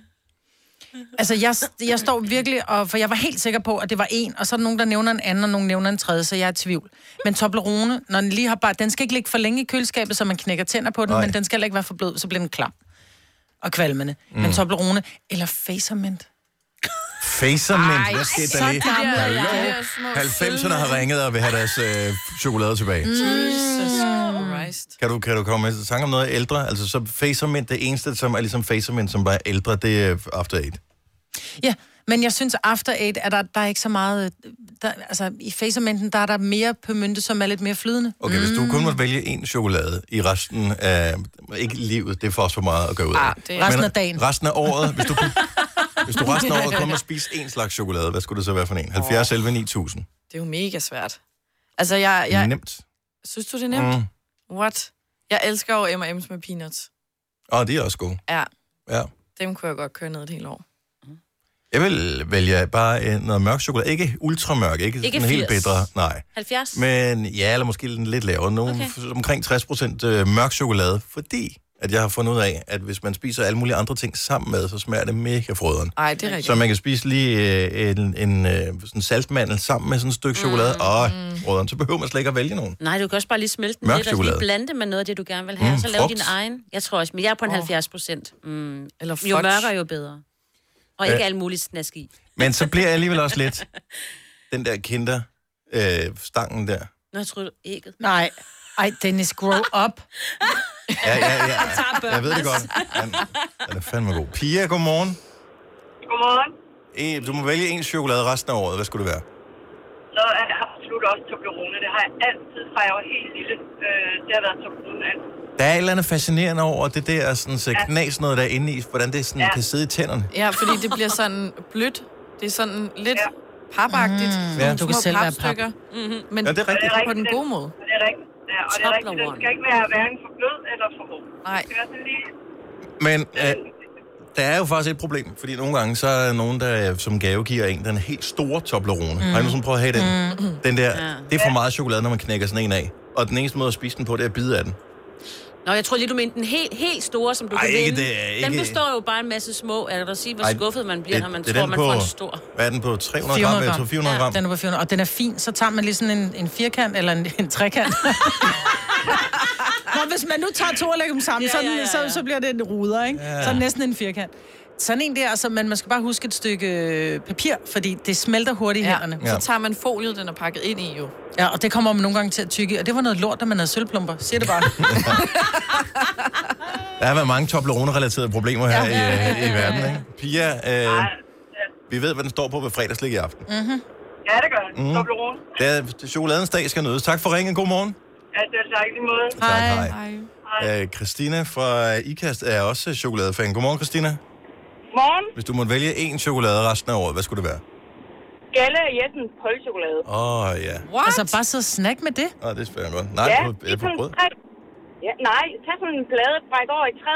[SPEAKER 5] Altså, jeg, jeg står virkelig, og, for jeg var helt sikker på, at det var en, og så er der nogen, der nævner en anden, og nogen nævner en tredje, så jeg er i tvivl. Men Toblerone, når den lige har bare, den skal ikke ligge for længe i køleskabet, så man knækker tænder på den,
[SPEAKER 1] Nej.
[SPEAKER 5] Nej. men den skal heller ikke være for blød, så bliver den klam og kvalmende. Mm. Men
[SPEAKER 1] Mm.
[SPEAKER 5] Toblerone, eller Facermint.
[SPEAKER 1] Facermint.
[SPEAKER 5] Ej,
[SPEAKER 1] Hvad skete der
[SPEAKER 5] så
[SPEAKER 1] lige?
[SPEAKER 5] gammel er jeg.
[SPEAKER 1] Hallo?
[SPEAKER 5] De der små
[SPEAKER 1] 90'erne har ringet og vil have deres øh, chokolade tilbage.
[SPEAKER 6] Mm. Jesus Christ.
[SPEAKER 1] Kan du, kan du komme med en tanke om noget ældre? Altså, så Facermint, det eneste, som er ligesom Facermint, som bare er ældre, det er After Eight.
[SPEAKER 5] Ja, men jeg synes, After Eight, er der, der er ikke så meget... øh, Der, altså, i Facerminten, der er der mere pømynte, som er lidt mere flydende.
[SPEAKER 1] Okay, mm. hvis du kun måtte vælge én chokolade i resten af... Ikke livet, det er for os for meget at gøre ud af.
[SPEAKER 5] Ah, det er- Resten af dagen.
[SPEAKER 1] Resten af året, hvis du, kunne- hvis du resten af året kommer og spise én slags chokolade, hvad skulle det så være for en? 70 11 9000.
[SPEAKER 6] Det er jo mega svært. Altså, jeg...
[SPEAKER 1] Ja.
[SPEAKER 6] jeg
[SPEAKER 1] Nemt.
[SPEAKER 6] Synes du, det er nemt? Mm. What? Jeg elsker jo M&M's med peanuts.
[SPEAKER 1] Og det Ah, er også gode.
[SPEAKER 6] Ja,
[SPEAKER 1] Ja.
[SPEAKER 6] dem kunne jeg godt køre ned et helt år.
[SPEAKER 1] Jeg vil vælge bare øh, noget mørk chokolade. Ikke ultramørk, ikke,
[SPEAKER 6] Ikke
[SPEAKER 1] ikke sådan helt
[SPEAKER 6] 80.
[SPEAKER 1] bedre. Nej.
[SPEAKER 4] 70?
[SPEAKER 1] Men ja, eller måske den lidt lavere. Nogle,
[SPEAKER 4] Okay.
[SPEAKER 1] okay. Omkring 60 procent øh, mørk chokolade, fordi at jeg har fundet ud af, at hvis man spiser alle mulige andre ting sammen med, så smager det mega frøderen.
[SPEAKER 6] Ej, det er rigtigt.
[SPEAKER 1] Så man kan spise lige øh, en, en øh, sådan saltmandel sammen med sådan et stykke mm. chokolade og frøderen. Så behøver man slet ikke at vælge nogen.
[SPEAKER 4] Nej, du kan også bare lige smelte den
[SPEAKER 1] Mørk
[SPEAKER 4] lidt, og
[SPEAKER 1] chokolade.
[SPEAKER 4] så lige blande det med noget af det, du gerne vil have,
[SPEAKER 1] Mm,
[SPEAKER 4] mm, så lave
[SPEAKER 1] frugt.
[SPEAKER 4] din egen. Jeg tror også, men jeg er på en
[SPEAKER 6] Åh.
[SPEAKER 4] oh. 70 procent. Mm.
[SPEAKER 6] Eller
[SPEAKER 4] Jo
[SPEAKER 6] fudge.
[SPEAKER 4] mørkere, jo bedre. Og ikke
[SPEAKER 1] Ja.
[SPEAKER 4] ja. alt muligt snask i.
[SPEAKER 1] Men så bliver jeg alligevel også lidt den der kinder øh, stangen der.
[SPEAKER 4] Nå, jeg troede ægget.
[SPEAKER 5] Nej. Ej, Dennis, grow up.
[SPEAKER 1] Ja, ja, ja.
[SPEAKER 4] Jeg tager børn,
[SPEAKER 1] Jeg ved det godt.
[SPEAKER 4] altså.
[SPEAKER 1] Han, han er fandme god. Pia, godmorgen.
[SPEAKER 12] Godmorgen.
[SPEAKER 1] Eh, Du må vælge en chokolade resten af året. Hvad skulle det være?
[SPEAKER 12] Så er det absolut også Toblerone. Det har jeg altid, fra jeg var helt lille. Øh, det har været Toblerone altid.
[SPEAKER 1] Der er et eller andet fascinerende over det der sådan, så knas noget der er inde i, hvordan det sådan,
[SPEAKER 6] Ja.
[SPEAKER 1] kan sidde i tænderne.
[SPEAKER 6] Ja, fordi det bliver sådan blødt. Det er sådan lidt ja. papagtigt. Mm.
[SPEAKER 1] Ja. Du kan selv være pap.
[SPEAKER 6] Mm-hmm. Men
[SPEAKER 1] Ja, det er rigtigt.
[SPEAKER 6] på den gode måde.
[SPEAKER 12] Og det er rigtigt. Ja, og det er rigtigt. Den skal ikke være hverken for blød eller for hård.
[SPEAKER 6] Nej.
[SPEAKER 12] Det skal være sådan lige...
[SPEAKER 1] Men øh, der er jo faktisk et problem, fordi nogle gange så er der nogen, der øh, som gave giver en den helt store Toblerone. Mm. Har I nogen prøvet at have den? Mm. Den der, ja. det er for meget chokolade, når man knækker sådan en af. Og den eneste måde at spise den på, det er at bide af den.
[SPEAKER 4] Nå, jeg tror lige, du mente den helt, helt store, som du
[SPEAKER 1] Ej,
[SPEAKER 4] kan
[SPEAKER 1] ikke
[SPEAKER 4] vinde.
[SPEAKER 1] det, ikke-
[SPEAKER 4] Den består jo bare af en masse små. Er du sige, hvor
[SPEAKER 1] Ej,
[SPEAKER 4] skuffet man bliver,
[SPEAKER 1] det-
[SPEAKER 4] når man
[SPEAKER 1] det er
[SPEAKER 4] tror,
[SPEAKER 1] den
[SPEAKER 4] man
[SPEAKER 1] på-
[SPEAKER 4] får en stor?
[SPEAKER 1] Hvad er den på? 300 gram, eller jeg tror 400 gram?
[SPEAKER 5] Ja, den er på 400, og den er fin. Så tager man lige sådan en, en firkant eller en, en trekant. Nå, hvis man nu tager to og lægger dem sammen, ja, ja, ja, ja. Så, så bliver det en ruder, ikke?
[SPEAKER 2] Ja.
[SPEAKER 5] Ja. Så er det næsten en firkant. Sådan en der, altså, men man skal bare huske et stykke øh, papir, fordi det smelter hurtigt i ja. hænderne.
[SPEAKER 6] Ja. Så tager man foliet, den er pakket ind i jo.
[SPEAKER 5] Ja, og det kommer man nogle gange til at tykke, i, og det var noget lort, da man havde sølvplumper. Siger det bare.
[SPEAKER 1] Der har været mange Toblerone-relaterede problemer her
[SPEAKER 5] Ja.
[SPEAKER 1] i, øh, i verden, ikke? Pia, øh, vi ved, hvad den står på ved fredagslik i aften.
[SPEAKER 5] Mhm.
[SPEAKER 12] Mm-hmm. Ja, det gør den.
[SPEAKER 1] Mhm.
[SPEAKER 12] Mm. Toblerone.
[SPEAKER 1] Det er, det er chokoladens dag skal nødes. Tak for ringen. God morgen.
[SPEAKER 12] Ja, det er sagt i lige måde.
[SPEAKER 1] Hej. hej.
[SPEAKER 12] Hej.
[SPEAKER 1] Øh, Christina fra IKAST er også chokoladefan. Godmorgen, Christina.
[SPEAKER 12] Morgen.
[SPEAKER 1] Hvis du måtte vælge én chokolade resten af året, hvad skulle det være?
[SPEAKER 12] Galla og Jessen koldchokolade.
[SPEAKER 1] Åh, oh, ja.
[SPEAKER 5] What? Altså, bare sidde og snakke med det.
[SPEAKER 1] Åh, det spørger jeg godt. Nej,
[SPEAKER 12] ja,
[SPEAKER 1] på,
[SPEAKER 12] lige
[SPEAKER 1] eller på
[SPEAKER 12] sådan
[SPEAKER 1] brød.
[SPEAKER 12] tre- Ja, nej, tag sådan en plade, bræk over i træ,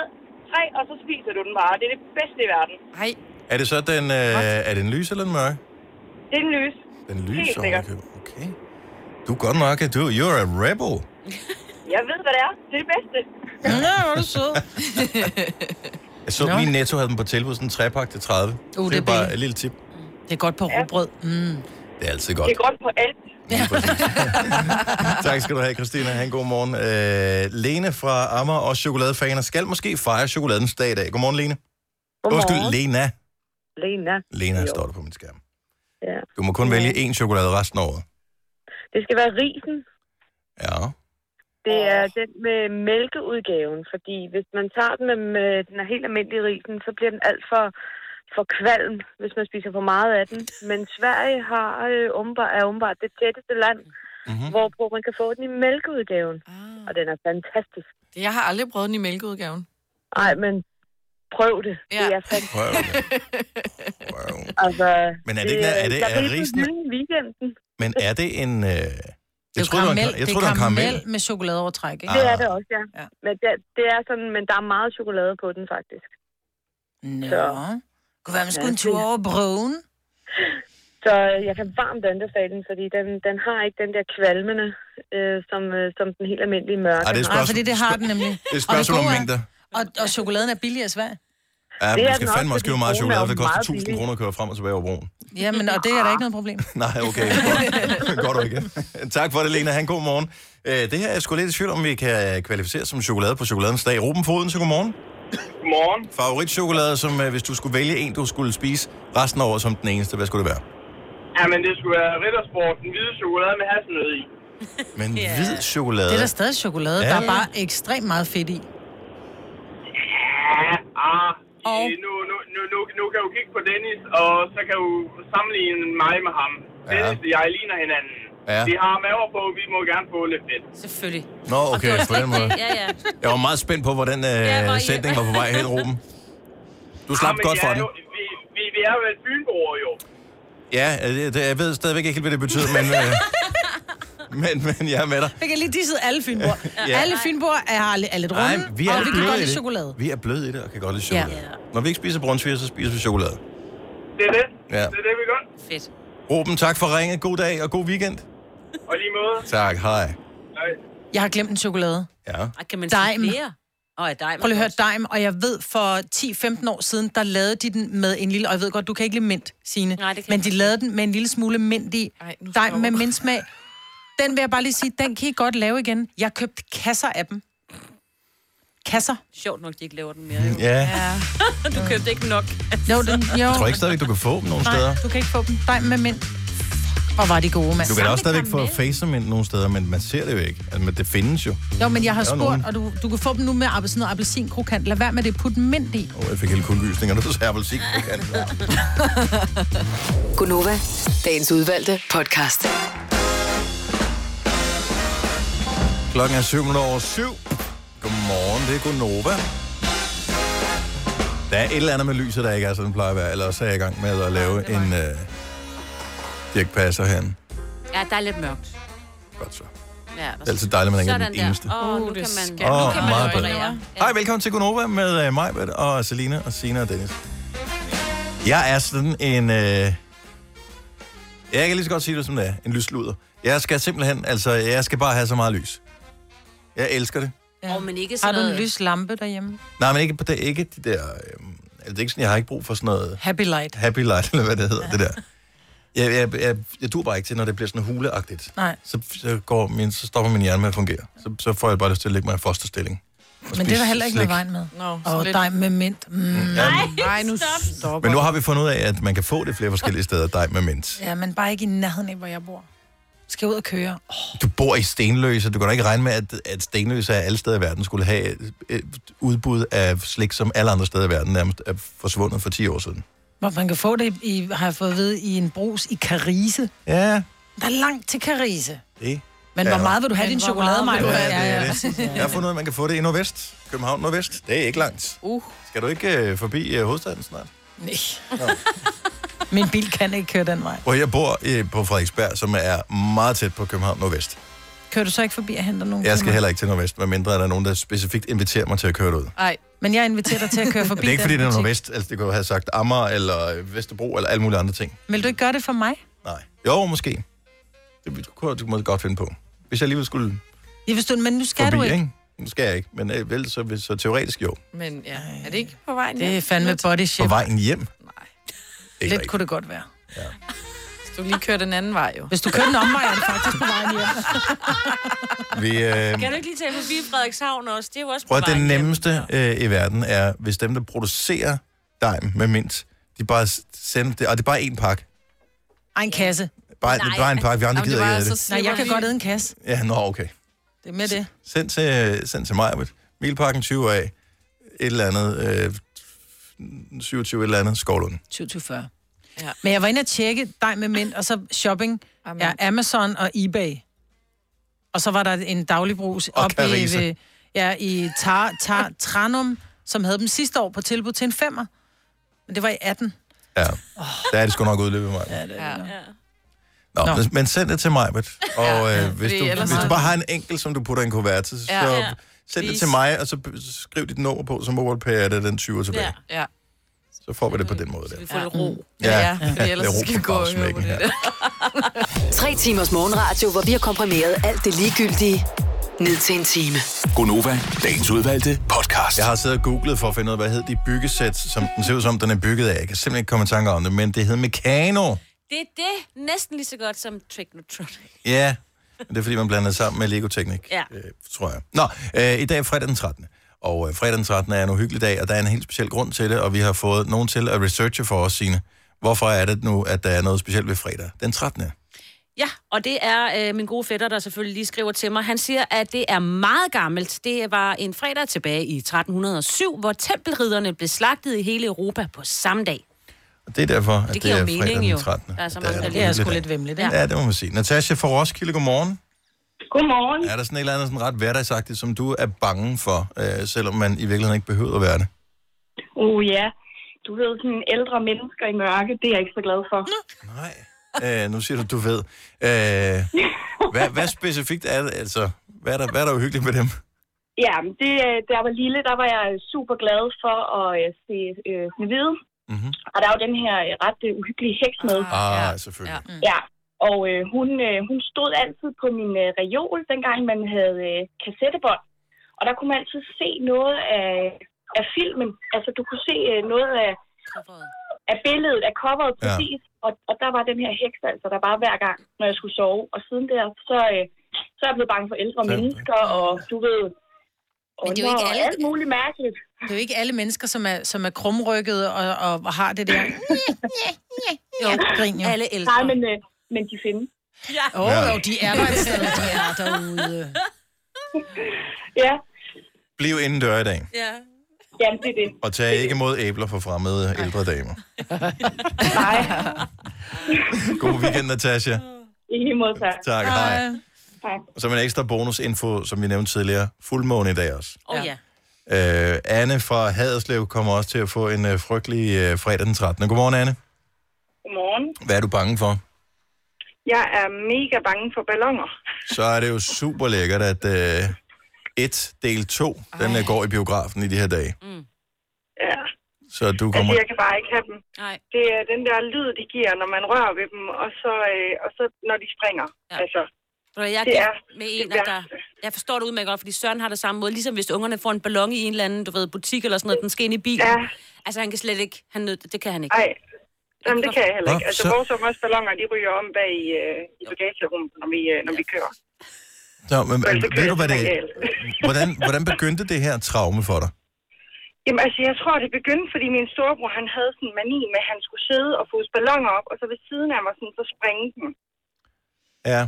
[SPEAKER 12] træ, og så spiser du den bare. Det er det bedste i verden. Nej.
[SPEAKER 1] Er det så den, øh, er den lys eller den mørke?
[SPEAKER 12] Det er en lys.
[SPEAKER 1] Den lys
[SPEAKER 12] Helt sikkert.
[SPEAKER 1] ovenikøbet. Okay. Du er godt nok, at du you're a rebel.
[SPEAKER 12] Jeg ved, hvad det er. Det er det bedste.
[SPEAKER 5] Nå, hvor er du sød.
[SPEAKER 1] Jeg så
[SPEAKER 5] Nå.
[SPEAKER 1] lige Netto havde dem på tilbud, sådan en trepakke til 30.
[SPEAKER 5] Uh,
[SPEAKER 1] det
[SPEAKER 5] det
[SPEAKER 1] er
[SPEAKER 5] er
[SPEAKER 1] bare
[SPEAKER 5] billigt.
[SPEAKER 1] et lille tip.
[SPEAKER 5] Det er godt på rugbrød. Mm.
[SPEAKER 1] Det er altid godt.
[SPEAKER 12] Det er godt på alt.
[SPEAKER 1] tak skal du have, Christina. Ha' en god morgen. Øh, Lene fra Ammer og chokoladefaner skal måske fejre chokoladens dag i dag. Godmorgen, Lene. Undskyld, Lena.
[SPEAKER 13] Lena.
[SPEAKER 1] Lena står der på min skærm.
[SPEAKER 13] Ja.
[SPEAKER 1] Du må kun vælge én chokolade resten af året.
[SPEAKER 13] Det skal være risen.
[SPEAKER 1] Ja.
[SPEAKER 13] Det er den med mælkeudgaven, fordi hvis man tager den med, med den helt almindelige risen, så bliver den alt for, for kvalm, hvis man spiser for meget af den. Men Sverige har, øh, umbar, er umbar det tætteste land, mm-hmm. hvorpå man kan få den i mælkeudgaven. Ah. Og den er fantastisk.
[SPEAKER 6] Jeg har aldrig prøvet den i mælkeudgaven.
[SPEAKER 13] Nej, men prøv det. Ja. Det er fantastisk.
[SPEAKER 1] Prøv det.
[SPEAKER 13] Altså, Øh,
[SPEAKER 1] Men er det ikke- er det-
[SPEAKER 13] der
[SPEAKER 1] er
[SPEAKER 13] blev på
[SPEAKER 1] risen-
[SPEAKER 13] hylden i weekenden.
[SPEAKER 1] Men er det en... Øh...
[SPEAKER 5] Det er
[SPEAKER 1] Jeg
[SPEAKER 5] jo
[SPEAKER 1] troede, det var en,
[SPEAKER 5] karamel.
[SPEAKER 1] kar- jeg troede, det var en karamel.
[SPEAKER 5] med chokoladeovertræk, ikke?
[SPEAKER 13] Det
[SPEAKER 1] Ah.
[SPEAKER 13] er det også, ja. ja. Men, det, det er sådan, men der er meget chokolade på den, faktisk.
[SPEAKER 5] Nå.
[SPEAKER 13] Så.
[SPEAKER 5] Kunne være, man skulle en tur over broen?
[SPEAKER 13] Så øh, jeg kan varmt anbefale den, fordi den, den har ikke den der kvalmende, øh, som, øh, som den helt almindelige mørke.
[SPEAKER 1] Ej, Ah, det er et
[SPEAKER 13] har.
[SPEAKER 5] Nej, fordi det har den nemlig.
[SPEAKER 1] Det er et spørgsmål
[SPEAKER 5] Og
[SPEAKER 1] om
[SPEAKER 5] det gode er-
[SPEAKER 1] mængder.
[SPEAKER 5] Og, og chokoladen er billig i Sverige.
[SPEAKER 1] Ja,
[SPEAKER 13] Det
[SPEAKER 1] men
[SPEAKER 13] er
[SPEAKER 1] du skal
[SPEAKER 13] den
[SPEAKER 1] fandme
[SPEAKER 13] også,
[SPEAKER 1] også købe
[SPEAKER 13] fordi
[SPEAKER 1] meget
[SPEAKER 13] kronen er
[SPEAKER 1] chokolade, for det
[SPEAKER 13] jo
[SPEAKER 1] koster
[SPEAKER 13] meget
[SPEAKER 1] 1000
[SPEAKER 13] billig.
[SPEAKER 1] kroner at køre frem og tilbage over broen.
[SPEAKER 5] Jamen, og det er da ikke noget problem.
[SPEAKER 1] Nej, okay. Godt du ikke. tak for det, Lena. Han god morgen. Øh, Det her er sgu lidt i tvivl, om vi kan kvalificere som chokolade på chokoladens dag. Ruben Foden, så godmorgen.
[SPEAKER 12] Godmorgen.
[SPEAKER 1] Favoritchokolade, som øh, hvis du skulle vælge en, du skulle spise resten af året som den eneste, hvad skulle det være?
[SPEAKER 12] Ja, men det skulle være Riddersport, den hvide chokolade med hasselnød i.
[SPEAKER 1] Men yeah. hvid chokolade.
[SPEAKER 5] Det er der stadig chokolade.
[SPEAKER 1] Ja.
[SPEAKER 5] Ja. Der er bare ekstremt meget fedt i.
[SPEAKER 12] Ja, ah, og... nu, nu, nu, nu, nu kan du kigge på Dennis, og så kan du sammenligne mig med ham. Ja. Dennis og jeg ligner hinanden.
[SPEAKER 1] Ja.
[SPEAKER 12] Vi har maver på, vi må gerne få lidt fedt.
[SPEAKER 4] Selvfølgelig.
[SPEAKER 1] Nå, okay, på den måde.
[SPEAKER 4] Ja, ja.
[SPEAKER 1] Jeg var meget spændt på, hvordan
[SPEAKER 12] hvor
[SPEAKER 1] øh,
[SPEAKER 12] I-
[SPEAKER 1] sætningen var på vej hen, Ruben. Du slap
[SPEAKER 12] Ah, men
[SPEAKER 1] godt
[SPEAKER 12] vi
[SPEAKER 1] for
[SPEAKER 12] er
[SPEAKER 1] den.
[SPEAKER 12] Jo, vi, vi, vi er jo et fynboer jo.
[SPEAKER 1] Ja, øh, det, det- jeg ved stadigvæk ikke helt, hvad det betyder, men, øh, men, men jeg er med dig.
[SPEAKER 5] Jeg kan lige disse alle fynbord.
[SPEAKER 1] Ja.
[SPEAKER 5] ja. Alle fynbord er, er lidt runde,
[SPEAKER 1] vi er
[SPEAKER 5] og vi kan
[SPEAKER 1] bløde
[SPEAKER 5] godt
[SPEAKER 1] i
[SPEAKER 5] lide
[SPEAKER 1] det.
[SPEAKER 5] chokolade.
[SPEAKER 1] Vi er bløde i det og kan godt lide
[SPEAKER 5] Ja.
[SPEAKER 1] chokolade. Ja. Når vi ikke spiser brunsviger, så spiser vi chokolade.
[SPEAKER 12] Det er det.
[SPEAKER 1] Ja.
[SPEAKER 12] Det er det, vi gør.
[SPEAKER 4] Fedt.
[SPEAKER 1] Ruben, tak for ringet. God dag og god weekend.
[SPEAKER 12] Og lige måde.
[SPEAKER 1] Tak, hej.
[SPEAKER 5] Jeg har glemt en chokolade.
[SPEAKER 1] Ja.
[SPEAKER 4] Ej, kan man sige flere? Åh, ja,
[SPEAKER 5] Prøv lige at høre dejm, og jeg ved, for 10-15 år siden, der lavede de den med en lille, og jeg ved godt, du kan ikke lide mint, Signe, Nej, det men de lavede den med en lille smule mint i, dejm med mintsmag. Den vil jeg bare lige sige, den kan I godt lave igen. Jeg købte kasser af dem. Kasser.
[SPEAKER 4] Sjovt nok, de ikke laver den mere. Jo.
[SPEAKER 1] Ja.
[SPEAKER 4] du købte ikke nok.
[SPEAKER 5] Jo, den, jo.
[SPEAKER 1] Jeg tror ikke stadigvæk, du kan få dem nogen steder.
[SPEAKER 5] Nej, du kan ikke få dem. Dejm med mint. Og var det gode, mand.
[SPEAKER 1] Du kan da også stadigvæk få facermint nogle steder, men man ser det jo ikke. Altså, men det findes jo.
[SPEAKER 5] Jo, men jeg har
[SPEAKER 1] Der er
[SPEAKER 5] spurgt,
[SPEAKER 1] nogen-
[SPEAKER 5] og du, du kan få dem nu med appelsin og appelsinkrokant. Lad være med det, put mint i.
[SPEAKER 1] Åh, oh, jeg fik hele kuldgysninger, du sagde appelsin.
[SPEAKER 7] Gunova, dagens udvalgte podcast.
[SPEAKER 1] Klokken er 7 minutter over 7. Godmorgen, det er Gunova. Der er et eller andet med lyset, der ikke er, som den plejer at være. Ellers er jeg i gang med at lave en øh, Dirk Passer herinde.
[SPEAKER 4] Ja, der er lidt mørkt.
[SPEAKER 1] Godt så.
[SPEAKER 4] Ja,
[SPEAKER 1] Det er altid dejligt, at man ikke er den eneste.
[SPEAKER 5] Uh,
[SPEAKER 4] Åh, oh, nu kan man...
[SPEAKER 1] Åh,
[SPEAKER 4] nu kan man
[SPEAKER 1] meget
[SPEAKER 4] operere.
[SPEAKER 1] bedre. Hej, velkommen til Gunova med øh, mig, og Selina, og Sina og Dennis. Jeg er sådan en... Øh, jeg kan lige så godt sige det, som det er. En lysluder. Jeg skal simpelthen... Altså, jeg skal bare have så meget lys. Jeg elsker det.
[SPEAKER 14] Ja.
[SPEAKER 4] Og men ikke
[SPEAKER 14] Har
[SPEAKER 4] sådan
[SPEAKER 14] du en
[SPEAKER 4] noget-
[SPEAKER 14] lys lampe derhjemme?
[SPEAKER 1] Nej, men ikke, på det, ikke de der... Øhm, altså, det er ikke sådan, jeg har ikke brug for sådan noget...
[SPEAKER 14] Happy light.
[SPEAKER 1] Happy light, eller hvad det hedder, ja. det der. Jeg, jeg, jeg, jeg dur bare ikke til, når det bliver sådan huleagtigt.
[SPEAKER 14] Nej.
[SPEAKER 1] Så, så, går min, så stopper min hjerne med at fungere. Så, så får jeg bare lyst til at lægge mig i fosterstilling. og
[SPEAKER 5] Men det er der
[SPEAKER 1] spise
[SPEAKER 5] heller ikke
[SPEAKER 1] slik.
[SPEAKER 5] noget vejen med.
[SPEAKER 6] No,
[SPEAKER 5] og dig med mint. Mm.
[SPEAKER 1] Ja,
[SPEAKER 5] Nej, nu stopper.
[SPEAKER 1] Men nu har vi fundet ud af, at man kan få det flere forskellige steder, dig med mint.
[SPEAKER 5] Ja, men bare ikke i nærheden af, hvor jeg bor. Skal ud og køre. Åh,
[SPEAKER 1] Du bor i Stenløse. Du kan da ikke regne med, at, at Stenløse er alle steder i verden skulle have et, et udbud af slik, som alle andre steder i verden nærmest er forsvundet for 10 år siden.
[SPEAKER 5] Hvor man kan få det, i, har jeg fået at vide, i en brus i Karise.
[SPEAKER 1] Ja.
[SPEAKER 5] Der er langt til Karise.
[SPEAKER 1] Det
[SPEAKER 5] Men
[SPEAKER 1] er-
[SPEAKER 5] hvor meget vil du have
[SPEAKER 14] Men
[SPEAKER 5] din
[SPEAKER 14] hvor
[SPEAKER 5] chokolade,
[SPEAKER 14] meget
[SPEAKER 5] Maja?
[SPEAKER 14] vil du have?
[SPEAKER 1] Ja, det er det. Jeg har fundet ud af, at man kan få det i Nordvest. København Nordvest. Det er ikke langt.
[SPEAKER 5] Uh.
[SPEAKER 1] Skal du ikke øh, forbi øh, hovedstaden snart?
[SPEAKER 5] Nej. Min bil kan ikke køre den vej.
[SPEAKER 1] Hvor jeg bor øh, på Frederiksberg, som er meget tæt på København Nordvest.
[SPEAKER 5] Kører du så ikke forbi og henter nogen?
[SPEAKER 1] Jeg skal heller ikke til Nordvest, medmindre der er nogen, der specifikt inviterer mig til at køre derud.
[SPEAKER 5] Nej, men jeg inviterer dig til at køre forbi
[SPEAKER 1] Det er ikke,
[SPEAKER 5] den
[SPEAKER 1] fordi det er
[SPEAKER 5] butik.
[SPEAKER 1] Nordvest. Altså, det kunne jo have sagt Amager eller øh, Vesterbro eller alle mulige andre ting.
[SPEAKER 14] Vil du ikke gøre det for mig?
[SPEAKER 1] Nej. Jo, måske. Det kunne jeg du måske godt finde på. Hvis jeg alligevel skulle
[SPEAKER 5] Jeg forstår, men nu skal
[SPEAKER 1] forbi,
[SPEAKER 5] du ikke.
[SPEAKER 1] ikke? Nu skal jeg ikke, men øh, vel, så, hvis- så teoretisk jo.
[SPEAKER 6] Men ja, er det ikke på vejen
[SPEAKER 5] Det er
[SPEAKER 6] hjem?
[SPEAKER 5] fandme
[SPEAKER 6] Lidt?
[SPEAKER 5] body
[SPEAKER 1] På
[SPEAKER 5] shape.
[SPEAKER 1] vejen hjem. Ikke
[SPEAKER 5] Lidt kunne det godt være.
[SPEAKER 6] Hvis Du lige kører den anden vej, jo.
[SPEAKER 5] Hvis du kører den omvej, er det faktisk på vejen hjem.
[SPEAKER 1] Vi, øh,
[SPEAKER 4] Kan du ikke lige tage forbi Frederikshavn også? Det er jo også på
[SPEAKER 1] Prøv at
[SPEAKER 4] vejen
[SPEAKER 1] det
[SPEAKER 4] hjem.
[SPEAKER 1] nemmeste øh, i verden er, hvis dem, der producerer dej med mint, de bare s- sender det, og det er bare en pakke.
[SPEAKER 5] Ej, en kasse.
[SPEAKER 1] Bare, det altså er bare en pakke, vi andre gider ikke æde det.
[SPEAKER 5] Nej, jeg kan godt æde en kasse.
[SPEAKER 1] Ja, nå, okay.
[SPEAKER 5] Det er med det.
[SPEAKER 1] Send til, øh, send til mig, Milpakken 20 af, et eller andet, øh, 27 et eller andet, Skovlund.
[SPEAKER 5] 2040. Ja. Men jeg var inde og tjekke dig med mint, og så shopping. Amen. Ja, Amazon og eBay. Og så var der en dagligbrugs
[SPEAKER 1] Og
[SPEAKER 5] op i,
[SPEAKER 1] Carise.
[SPEAKER 5] ved, ja, i tar, tar, Tranum, som havde dem sidste år på tilbud til en femmer. Men det var i 18.
[SPEAKER 1] Ja, der er det sgu nok udløbet mig. Ja,
[SPEAKER 5] Ja. Ja.
[SPEAKER 1] Nå, Nå. Men, men send det til mig, og øh, hvis,
[SPEAKER 5] fordi
[SPEAKER 1] du,
[SPEAKER 5] ellers
[SPEAKER 1] hvis
[SPEAKER 5] så-
[SPEAKER 1] du bare har en enkelt, som du putter i en kuvert, til, så
[SPEAKER 6] Ja, ja.
[SPEAKER 1] send det
[SPEAKER 6] Please.
[SPEAKER 1] til mig, og så b- skriv dit nummer på, så MobilePay er det den 20 tilbage. Ja.
[SPEAKER 6] Ja. Mm.
[SPEAKER 1] Så får vi det på den måde. Der.
[SPEAKER 4] Vi får lidt ro.
[SPEAKER 1] Ja, ja,
[SPEAKER 7] fordi
[SPEAKER 1] ja,
[SPEAKER 7] ellers
[SPEAKER 1] det er ro
[SPEAKER 7] skal
[SPEAKER 1] på
[SPEAKER 7] vi gå og høre
[SPEAKER 1] bagsmækken her.
[SPEAKER 7] Tre timers morgenradio, hvor vi har komprimeret alt det ligegyldige ned til en time.
[SPEAKER 1] Gonova, dagens udvalgte podcast. Jeg har siddet og googlet for at finde ud af, hvad hed de byggesæt, som den ser ud som, den er bygget af. Jeg kan simpelthen ikke komme i tanke om det, men det hed Meccano.
[SPEAKER 4] Det er det næsten lige så godt som Technotronic.
[SPEAKER 1] Ja, men det er fordi, man blander det sammen med Lego-teknik,
[SPEAKER 4] Ja.
[SPEAKER 1] øh, tror jeg. Nå, øh, i dag er fredag den 13. Og øh, fredag den 13. er en uhyggelig dag, og der er en helt speciel grund til det, og vi har fået nogen til at researche for os, sine. Hvorfor er det nu, at der er noget specielt ved fredag den 13.
[SPEAKER 4] Ja, og det er øh, min gode fætter, der selvfølgelig lige skriver til mig. Han siger, at det er meget gammelt. Det var en fredag tilbage i 1307, hvor tempelridderne blev slagtet i hele Europa på samme dag.
[SPEAKER 1] Og det er derfor, at
[SPEAKER 4] Det
[SPEAKER 1] det,
[SPEAKER 4] giver
[SPEAKER 1] er
[SPEAKER 4] jo
[SPEAKER 1] fredag
[SPEAKER 4] mening jo.
[SPEAKER 1] den 13.
[SPEAKER 4] Der er så
[SPEAKER 1] at der
[SPEAKER 4] mange, der
[SPEAKER 1] en
[SPEAKER 4] lige- Det er
[SPEAKER 1] uhyggelig
[SPEAKER 4] sgu
[SPEAKER 1] dag.
[SPEAKER 4] lidt vemmeligt, ikke?
[SPEAKER 1] Ja, det må man sige. Natasha fra Roskilde, godmorgen.
[SPEAKER 12] Godmorgen.
[SPEAKER 1] Er der sådan et eller andet sådan ret hverdagsagtigt, som du er bange for, øh, selvom man i virkeligheden ikke behøver at være det?
[SPEAKER 12] Oh ja, du ved, sådan ældre mennesker i mørke, det er jeg ikke så glad for.
[SPEAKER 1] Nej. Øh, nu siger du, du ved. Øh, hvad, hvad specifikt er det, altså? Hvad er der, hvad er der uhyggeligt med dem?
[SPEAKER 12] Ja, men det, øh, da jeg var lille, der var jeg super glad for at øh, se øh, Snevide.
[SPEAKER 1] Mm-hmm.
[SPEAKER 12] Og der er jo den her øh, ret øh, uhyggelige heks med.
[SPEAKER 1] Ah, selvfølgelig.
[SPEAKER 12] Mm. Ja, og øh, hun, øh, hun stod altid på min øh, reol, dengang man havde øh, kassettebånd. Og der kunne man altid se noget af, af filmen. Altså, du kunne se øh, noget af,
[SPEAKER 4] Ah,
[SPEAKER 12] af billedet, af coveret præcis. Ja. Og, og der var den her heks, altså, der var hver gang, når jeg skulle sove. Og siden der, så, øh, så er jeg blevet bange for ældre
[SPEAKER 1] Så-
[SPEAKER 12] mennesker, og du ved... Og
[SPEAKER 5] Men det er jo ikke alle-
[SPEAKER 12] alt muligt mærkeligt.
[SPEAKER 5] Det er jo ikke alle mennesker, som er, som er krumrykket og, og, og har det der. Jo, grin jo.
[SPEAKER 12] Alle ældre. Nej, men, øh, men de findes. Ja.
[SPEAKER 5] Åh, oh, jo, de er der et sted, de er derude.
[SPEAKER 12] Ja.
[SPEAKER 1] Bliv indendør i dag,
[SPEAKER 12] Ja. Jamen, det er det.
[SPEAKER 1] og tag ikke imod æbler fra fremmede ældre damer.
[SPEAKER 12] Nej.
[SPEAKER 1] God weekend, Natasha.
[SPEAKER 12] I lige måde, tak.
[SPEAKER 1] Tak, hej.
[SPEAKER 12] Tak.
[SPEAKER 1] Og som en ekstra bonusinfo, som vi nævnte tidligere, fuldmåne i dag også.
[SPEAKER 4] Åh oh, ja.
[SPEAKER 1] Øh, Anne fra Haderslev kommer også til at få en øh, frygtelig øh, fredag den 13. Godmorgen, Anne.
[SPEAKER 12] Godmorgen.
[SPEAKER 1] Hvad er du bange for?
[SPEAKER 12] Jeg er mega bange for ballonger.
[SPEAKER 1] Så er det jo super lækkert, at øh, et del 2, den øh, går i biografen i de her dage.
[SPEAKER 12] Ja.
[SPEAKER 1] Så du
[SPEAKER 12] Altså,
[SPEAKER 1] kommer...
[SPEAKER 12] jeg kan bare ikke have dem.
[SPEAKER 4] Nej.
[SPEAKER 12] Det er den der lyd, de giver, når man rører ved dem, og så, øh, og så når de springer. Ja. Altså,
[SPEAKER 4] Ved du hvad, Jeg
[SPEAKER 12] Det
[SPEAKER 4] gik
[SPEAKER 12] er-
[SPEAKER 4] med
[SPEAKER 12] det
[SPEAKER 4] en, og der, Jeg forstår det udmærket godt, fordi Søren har det samme måde. Ligesom hvis ungerne får en ballon i en eller anden du ved, butik eller sådan noget, den skal ind i bilen. Ja. Altså, han kan slet ikke... Han nød, det kan han ikke.
[SPEAKER 15] Nej, Jamen, det kan jeg heller ikke.
[SPEAKER 1] Nå,
[SPEAKER 15] Altså,
[SPEAKER 1] så-
[SPEAKER 15] vores sommersballoner, de ryger om bag i, øh, i bagagerummet, når vi, øh, når vi kører.
[SPEAKER 1] Nå, men,
[SPEAKER 15] Ellers så kører
[SPEAKER 1] ved du,
[SPEAKER 15] jeg
[SPEAKER 1] hvad
[SPEAKER 15] til
[SPEAKER 1] det
[SPEAKER 15] Royal.
[SPEAKER 1] Hvordan, hvordan begyndte det her traume for dig?
[SPEAKER 15] Jamen altså, jeg tror, det begyndte, fordi min storebror, han havde sådan en mani med, at han skulle sidde og fodse balloner op, og så ved siden af mig sådan, så springe dem.
[SPEAKER 1] Ja,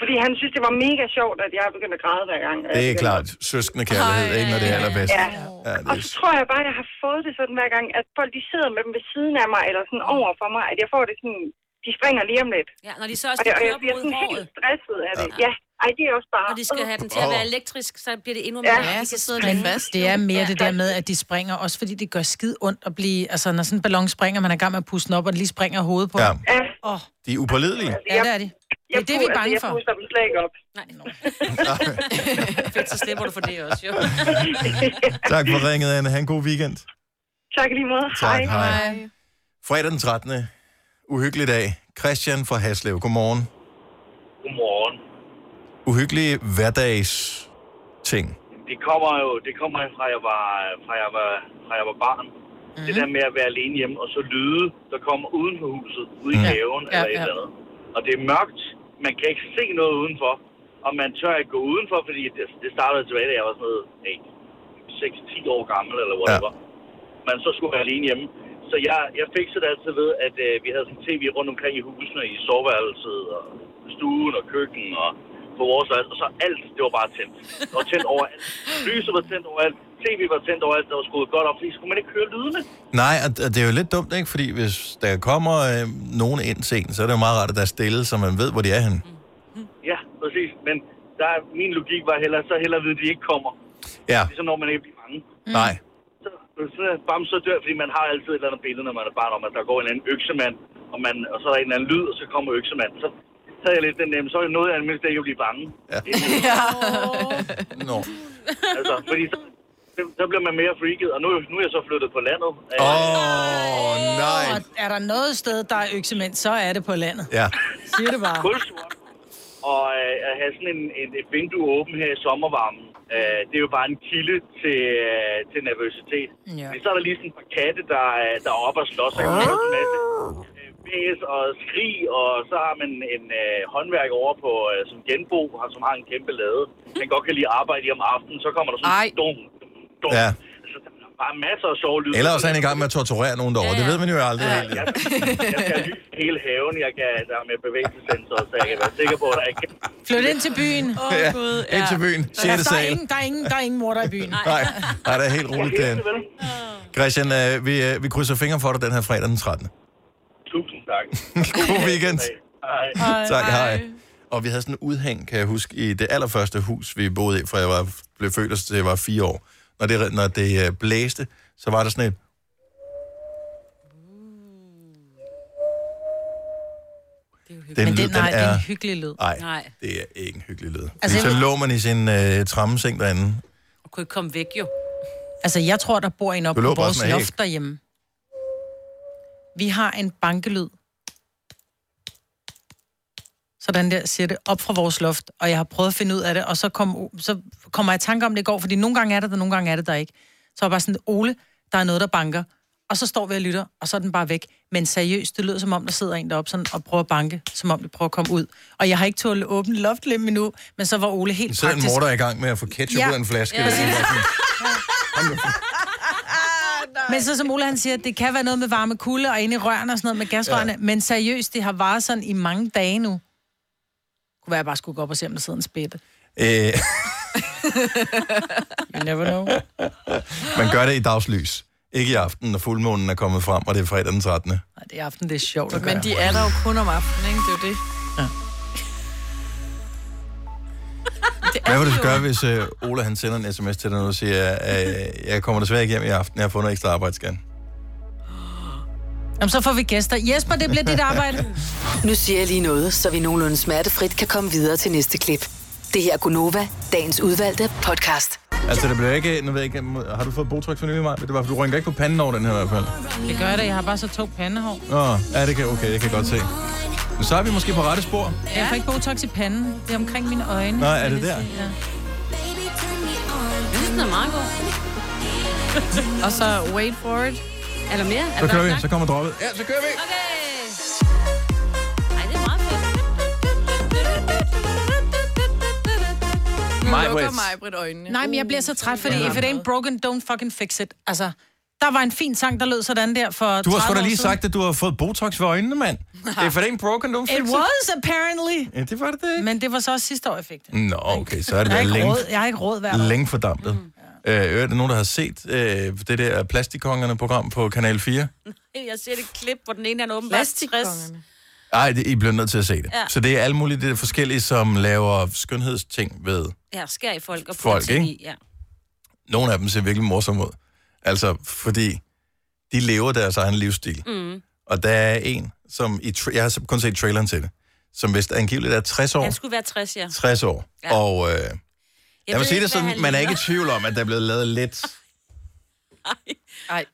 [SPEAKER 15] Fordi han synes, det var mega sjovt, at jeg begyndte at græde hver gang. Altså,
[SPEAKER 1] det er klart. Søskende kærlighed, ikke, når det er allerbedst.
[SPEAKER 15] Ja.
[SPEAKER 1] Ja,
[SPEAKER 15] Og
[SPEAKER 1] det
[SPEAKER 15] så tror jeg bare, at jeg har fået det sådan hver gang, at folk de sidder med dem ved siden af mig, eller sådan over for mig, at jeg får det sådan, de springer lige om lidt.
[SPEAKER 4] Ja, når de så også
[SPEAKER 15] og jeg,
[SPEAKER 4] skal
[SPEAKER 15] og jeg
[SPEAKER 4] køre
[SPEAKER 15] bliver
[SPEAKER 4] mod
[SPEAKER 15] sådan helt
[SPEAKER 4] håret.
[SPEAKER 15] stresset af det. Ja, ej, det er også bare...
[SPEAKER 4] Når de skal have den til at
[SPEAKER 15] Åh.
[SPEAKER 4] være elektrisk, så bliver det endnu mere...
[SPEAKER 5] Ja,
[SPEAKER 4] de
[SPEAKER 5] ja
[SPEAKER 4] kan
[SPEAKER 5] så sidder
[SPEAKER 4] sidde
[SPEAKER 5] den
[SPEAKER 4] derinde.
[SPEAKER 5] fast. Det er mere det der med, at de springer, også fordi det gør skid ondt at blive... Altså, når sådan en ballon springer, man er i gang med at puste den op, og det lige springer hovedet på.
[SPEAKER 1] Ja.
[SPEAKER 5] Oh,
[SPEAKER 1] De er upålidelige.
[SPEAKER 5] ja, det er de. Det er det, vi er bange for.
[SPEAKER 15] Jeg puster dem slet ikke op.
[SPEAKER 4] Fedt, så slipper du for det også, jo.
[SPEAKER 1] Tak for ringet, Anne. Ha' en god weekend.
[SPEAKER 15] tak i lige måde.
[SPEAKER 1] Tak, hej. Fredag den 13. Uhyggelig dag. Christian fra Haslev. Godmorgen.
[SPEAKER 16] Godmorgen.
[SPEAKER 1] Uhyggelige hverdags ting.
[SPEAKER 16] Det kommer jo det kommer jo fra, jeg var, fra, jeg var, fra jeg var barn. Mm-hmm. Det der med at være alene hjemme, og så lyde, der kommer uden for huset, ude i
[SPEAKER 1] Mhm.
[SPEAKER 16] haven
[SPEAKER 1] Ja,
[SPEAKER 16] ja, eller
[SPEAKER 1] ja.
[SPEAKER 16] et eller andet. Og det er mørkt. Man kan ikke se noget udenfor. Og man tør ikke gå udenfor, fordi det, det startede tilbage, da jeg var sådan noget hey, 6-10 år gammel, eller whatever. Ja. Men så skulle jeg alene hjemme. Så jeg, jeg fik det altid ved, at øh, vi havde sådan tv rundt omkring i husene, i soveværelset, og stuen og køkken, og på vores værelse. Og så alt, det var bare tændt. Det var tændt overalt. Lyset var tændt overalt. TV var tændt overalt. Der var skruet godt op, fordi så kunne man ikke høre lydene.
[SPEAKER 1] Nej, og og det er jo lidt dumt, ikke? Fordi hvis der kommer øh, nogen ind sent, så er det jo meget rart, at der er stille, så man ved, hvor de er henne.
[SPEAKER 16] Ja, præcis. Men der, er- min logik var heller, så hellere ved, at de ikke kommer.
[SPEAKER 1] Ja.
[SPEAKER 16] Ligesom når man ikke bliver bange.
[SPEAKER 1] Mm. Nej.
[SPEAKER 16] Så er bam, så dør, fordi man har altid et eller andet billede, når man er barn, om at der går en eller anden øksemand, og, man, og så er der en eller anden lyd, og så kommer øksemanden. Så, så er jeg lidt den nemme, så er det noget, jeg mindst ikke at blive bange.
[SPEAKER 1] Ja.
[SPEAKER 16] ja.
[SPEAKER 1] Nå.
[SPEAKER 16] altså, fordi så, så- så, bliver man mere freaket, og nu, nu er jeg så flyttet på landet. øh,
[SPEAKER 1] Åh, oh, nej.
[SPEAKER 5] Og er der noget sted, der er øksemænd, så er det på landet.
[SPEAKER 1] Ja.
[SPEAKER 5] Siger det bare.
[SPEAKER 16] Kulsort. Og øh, at have sådan en, en, et vindue åbent her i sommervarmen, øh, det er jo bare en kilde til, øh, til nervøsitet.
[SPEAKER 5] Ja.
[SPEAKER 16] Men så er der lige sådan et par katte, der, øh, der er oppe og slås, og kan lave en masse øh, bæs og skrig, og så har man en øh, håndværker over på, øh, som genbo, har- som har en kæmpe lade. Han godt kan lide at arbejde i om aftenen, så kommer der sådan en dum, dum. Altså,
[SPEAKER 1] Ja.
[SPEAKER 16] Bare masser af sjove lyde.
[SPEAKER 1] Eller også er han i gang med at torturere nogen derovre. Det ved man jo aldrig. helt.
[SPEAKER 16] Jeg, jeg kan lyse hele haven, jeg kan, der er med bevægelsessensor, så jeg kan være sikker på, at der ikke
[SPEAKER 5] Flyt ind til byen.
[SPEAKER 1] Åh, Ja, Gud, ind ja. til byen. Sjette
[SPEAKER 5] Der er
[SPEAKER 1] sal.
[SPEAKER 5] ingen, der er ingen, der er ingen morder i byen.
[SPEAKER 1] Nej, nej, det er helt roligt, Dan. Christian, øh, vi, øh, vi krydser fingre for dig den her fredag den 13.
[SPEAKER 16] Tusind tak.
[SPEAKER 1] God weekend.
[SPEAKER 16] Hej.
[SPEAKER 1] tak, hej. Og vi havde sådan en udhæng, kan jeg huske, i det allerførste hus, vi boede i, fra jeg var, blev født, og til jeg var fire år. Når det, når det øh, blæste, så var der sådan et... Den
[SPEAKER 5] Men
[SPEAKER 1] lyd,
[SPEAKER 5] det, nej,
[SPEAKER 1] den
[SPEAKER 5] det er
[SPEAKER 1] er-
[SPEAKER 5] en hyggelig lyd.
[SPEAKER 1] Nej, det er ikke en hyggelig lyd.
[SPEAKER 5] Altså,
[SPEAKER 1] Altså,
[SPEAKER 5] jeg
[SPEAKER 1] så
[SPEAKER 5] ved-
[SPEAKER 1] lå man i sin øh, trammeseng derinde.
[SPEAKER 5] Og kunne ikke komme væk, jo. Altså, jeg tror, der bor en
[SPEAKER 1] Du
[SPEAKER 5] oppe
[SPEAKER 1] lå
[SPEAKER 5] på
[SPEAKER 1] bare
[SPEAKER 5] vores
[SPEAKER 1] sådan af æg.
[SPEAKER 5] loft derhjemme. Vi har en bankelyd. Sådan der siger det op fra vores loft, og jeg har prøvet at finde ud af det, og så, kom, så kommer jeg i tanke om det i går, fordi nogle gange er det der, nogle gange er det der ikke. Så var jeg bare sådan, Ole, der er noget, der banker. Og så står vi og lytter, og så er den bare væk. Men seriøst, det lyder som om, der sidder en deroppe sådan, og prøver at banke, som om det prøver at komme ud. Og jeg har ikke tålet åbent loftlim endnu, men så var Ole helt
[SPEAKER 1] Så er en
[SPEAKER 5] praktisk.
[SPEAKER 1] morder i gang med at få ketchup
[SPEAKER 5] Ja.
[SPEAKER 1] ud af en flaske.
[SPEAKER 5] Ja.
[SPEAKER 1] Ja. Sådan,
[SPEAKER 5] Men så som Ole han siger, det kan være noget med varme kulde og inde i rørene og sådan noget med gasrørene, ja. men seriøst, det har varet sådan i mange dage nu. Kunne være, jeg bare skulle gå op og se, om der sidder en spætte.
[SPEAKER 1] øh,
[SPEAKER 5] You never know.
[SPEAKER 1] man gør det i dagslys. Ikke i aften, når fuldmånen er kommet frem, og det er fredag den 13.
[SPEAKER 5] Det er aften, det er sjovt at gøre.
[SPEAKER 6] Men de er der jo kun om aftenen, ikke? Det er jo det.
[SPEAKER 1] Hvad vil du gøre, hvis øh, Ola han sender en sms til dig, og siger, øh, jeg kommer desværre ikke hjem i aften, jeg har fundet ekstra arbejdsgan.
[SPEAKER 5] Jamen, så får vi gæster. Jesper, det bliver dit arbejde.
[SPEAKER 7] Nu siger jeg lige noget, så vi nogenlunde smertefrit kan komme videre til næste klip. Det her er Gunova, dagens udvalgte podcast.
[SPEAKER 1] Altså, det bliver ikke, nu ved jeg ikke, har du fået Botox for nylig, Maja? Det var, for du rynker ikke på panden over den her i hvert fald.
[SPEAKER 5] Det gør jeg da, jeg har bare så to pandehår.
[SPEAKER 1] Nå, ja, det kan, okay, det kan jeg godt se. Men så er vi måske på rette spor.
[SPEAKER 5] Jeg får ikke botox i panden. Det er omkring mine øjne.
[SPEAKER 1] Nå, er det der?
[SPEAKER 5] Ja.
[SPEAKER 4] den er meget god.
[SPEAKER 6] Og så wait for it.
[SPEAKER 4] Er der mere? Er
[SPEAKER 1] Så
[SPEAKER 4] der
[SPEAKER 1] kører vi,
[SPEAKER 4] snak?
[SPEAKER 1] så kommer droppet.
[SPEAKER 4] Ja,
[SPEAKER 1] så kører vi.
[SPEAKER 4] Okay. Ej, det er meget fedt.
[SPEAKER 5] Nu
[SPEAKER 1] Maj-Brit.
[SPEAKER 5] lukker
[SPEAKER 6] Maj-Brit øjnene.
[SPEAKER 5] Nej, men jeg bliver så træt, fordi
[SPEAKER 1] Ja.
[SPEAKER 5] if it ain't broken, don't fucking fix it. Altså, der var en fin sang, der lød sådan der for
[SPEAKER 1] Du har
[SPEAKER 5] 30
[SPEAKER 1] sgu da
[SPEAKER 5] år
[SPEAKER 1] lige
[SPEAKER 5] siden.
[SPEAKER 1] sagt, at du har fået Botox ved øjnene, mand. If it ain't broken, don't fix
[SPEAKER 5] It was, apparently.
[SPEAKER 1] Ja, det var det ikke.
[SPEAKER 5] Men det var så også sidste år, jeg fik det.
[SPEAKER 1] Nå, okay, så er
[SPEAKER 5] jeg,
[SPEAKER 1] det der
[SPEAKER 5] har ikke
[SPEAKER 1] længe,
[SPEAKER 5] råd, jeg har ikke råd hver år.
[SPEAKER 1] længe fordampet. Mm. Øh, er der nogen, der har set øh, det der Plastikongerne-program på Kanal 4?
[SPEAKER 4] Jeg ser det klip, hvor den ene er åbenbart 60.
[SPEAKER 1] Ej, det, I bliver nødt til at se det.
[SPEAKER 4] Ja.
[SPEAKER 1] Ja. Så det er alle mulige det er forskellige, som laver skønhedsting ved.
[SPEAKER 4] Ja, skær i folk og
[SPEAKER 1] Folk,
[SPEAKER 4] folk, ting
[SPEAKER 1] ikke?
[SPEAKER 4] i. Ja.
[SPEAKER 1] Nogle af dem ser virkelig morsomme ud. Altså, fordi de lever deres egen livsstil.
[SPEAKER 4] Mm.
[SPEAKER 1] Og der er en, som i tra- jeg har kun set traileren til det, som vist angiveligt er 60 år.
[SPEAKER 4] Han skulle være 60, ja.
[SPEAKER 1] 60 år.
[SPEAKER 4] Ja.
[SPEAKER 1] Ja. Og øh, jeg, jeg
[SPEAKER 4] ved
[SPEAKER 1] vil sige
[SPEAKER 4] ikke,
[SPEAKER 1] det
[SPEAKER 4] hvad han
[SPEAKER 1] sådan, man er
[SPEAKER 4] ligner.
[SPEAKER 1] ikke i tvivl om, at der er blevet lavet lidt.
[SPEAKER 6] Nej.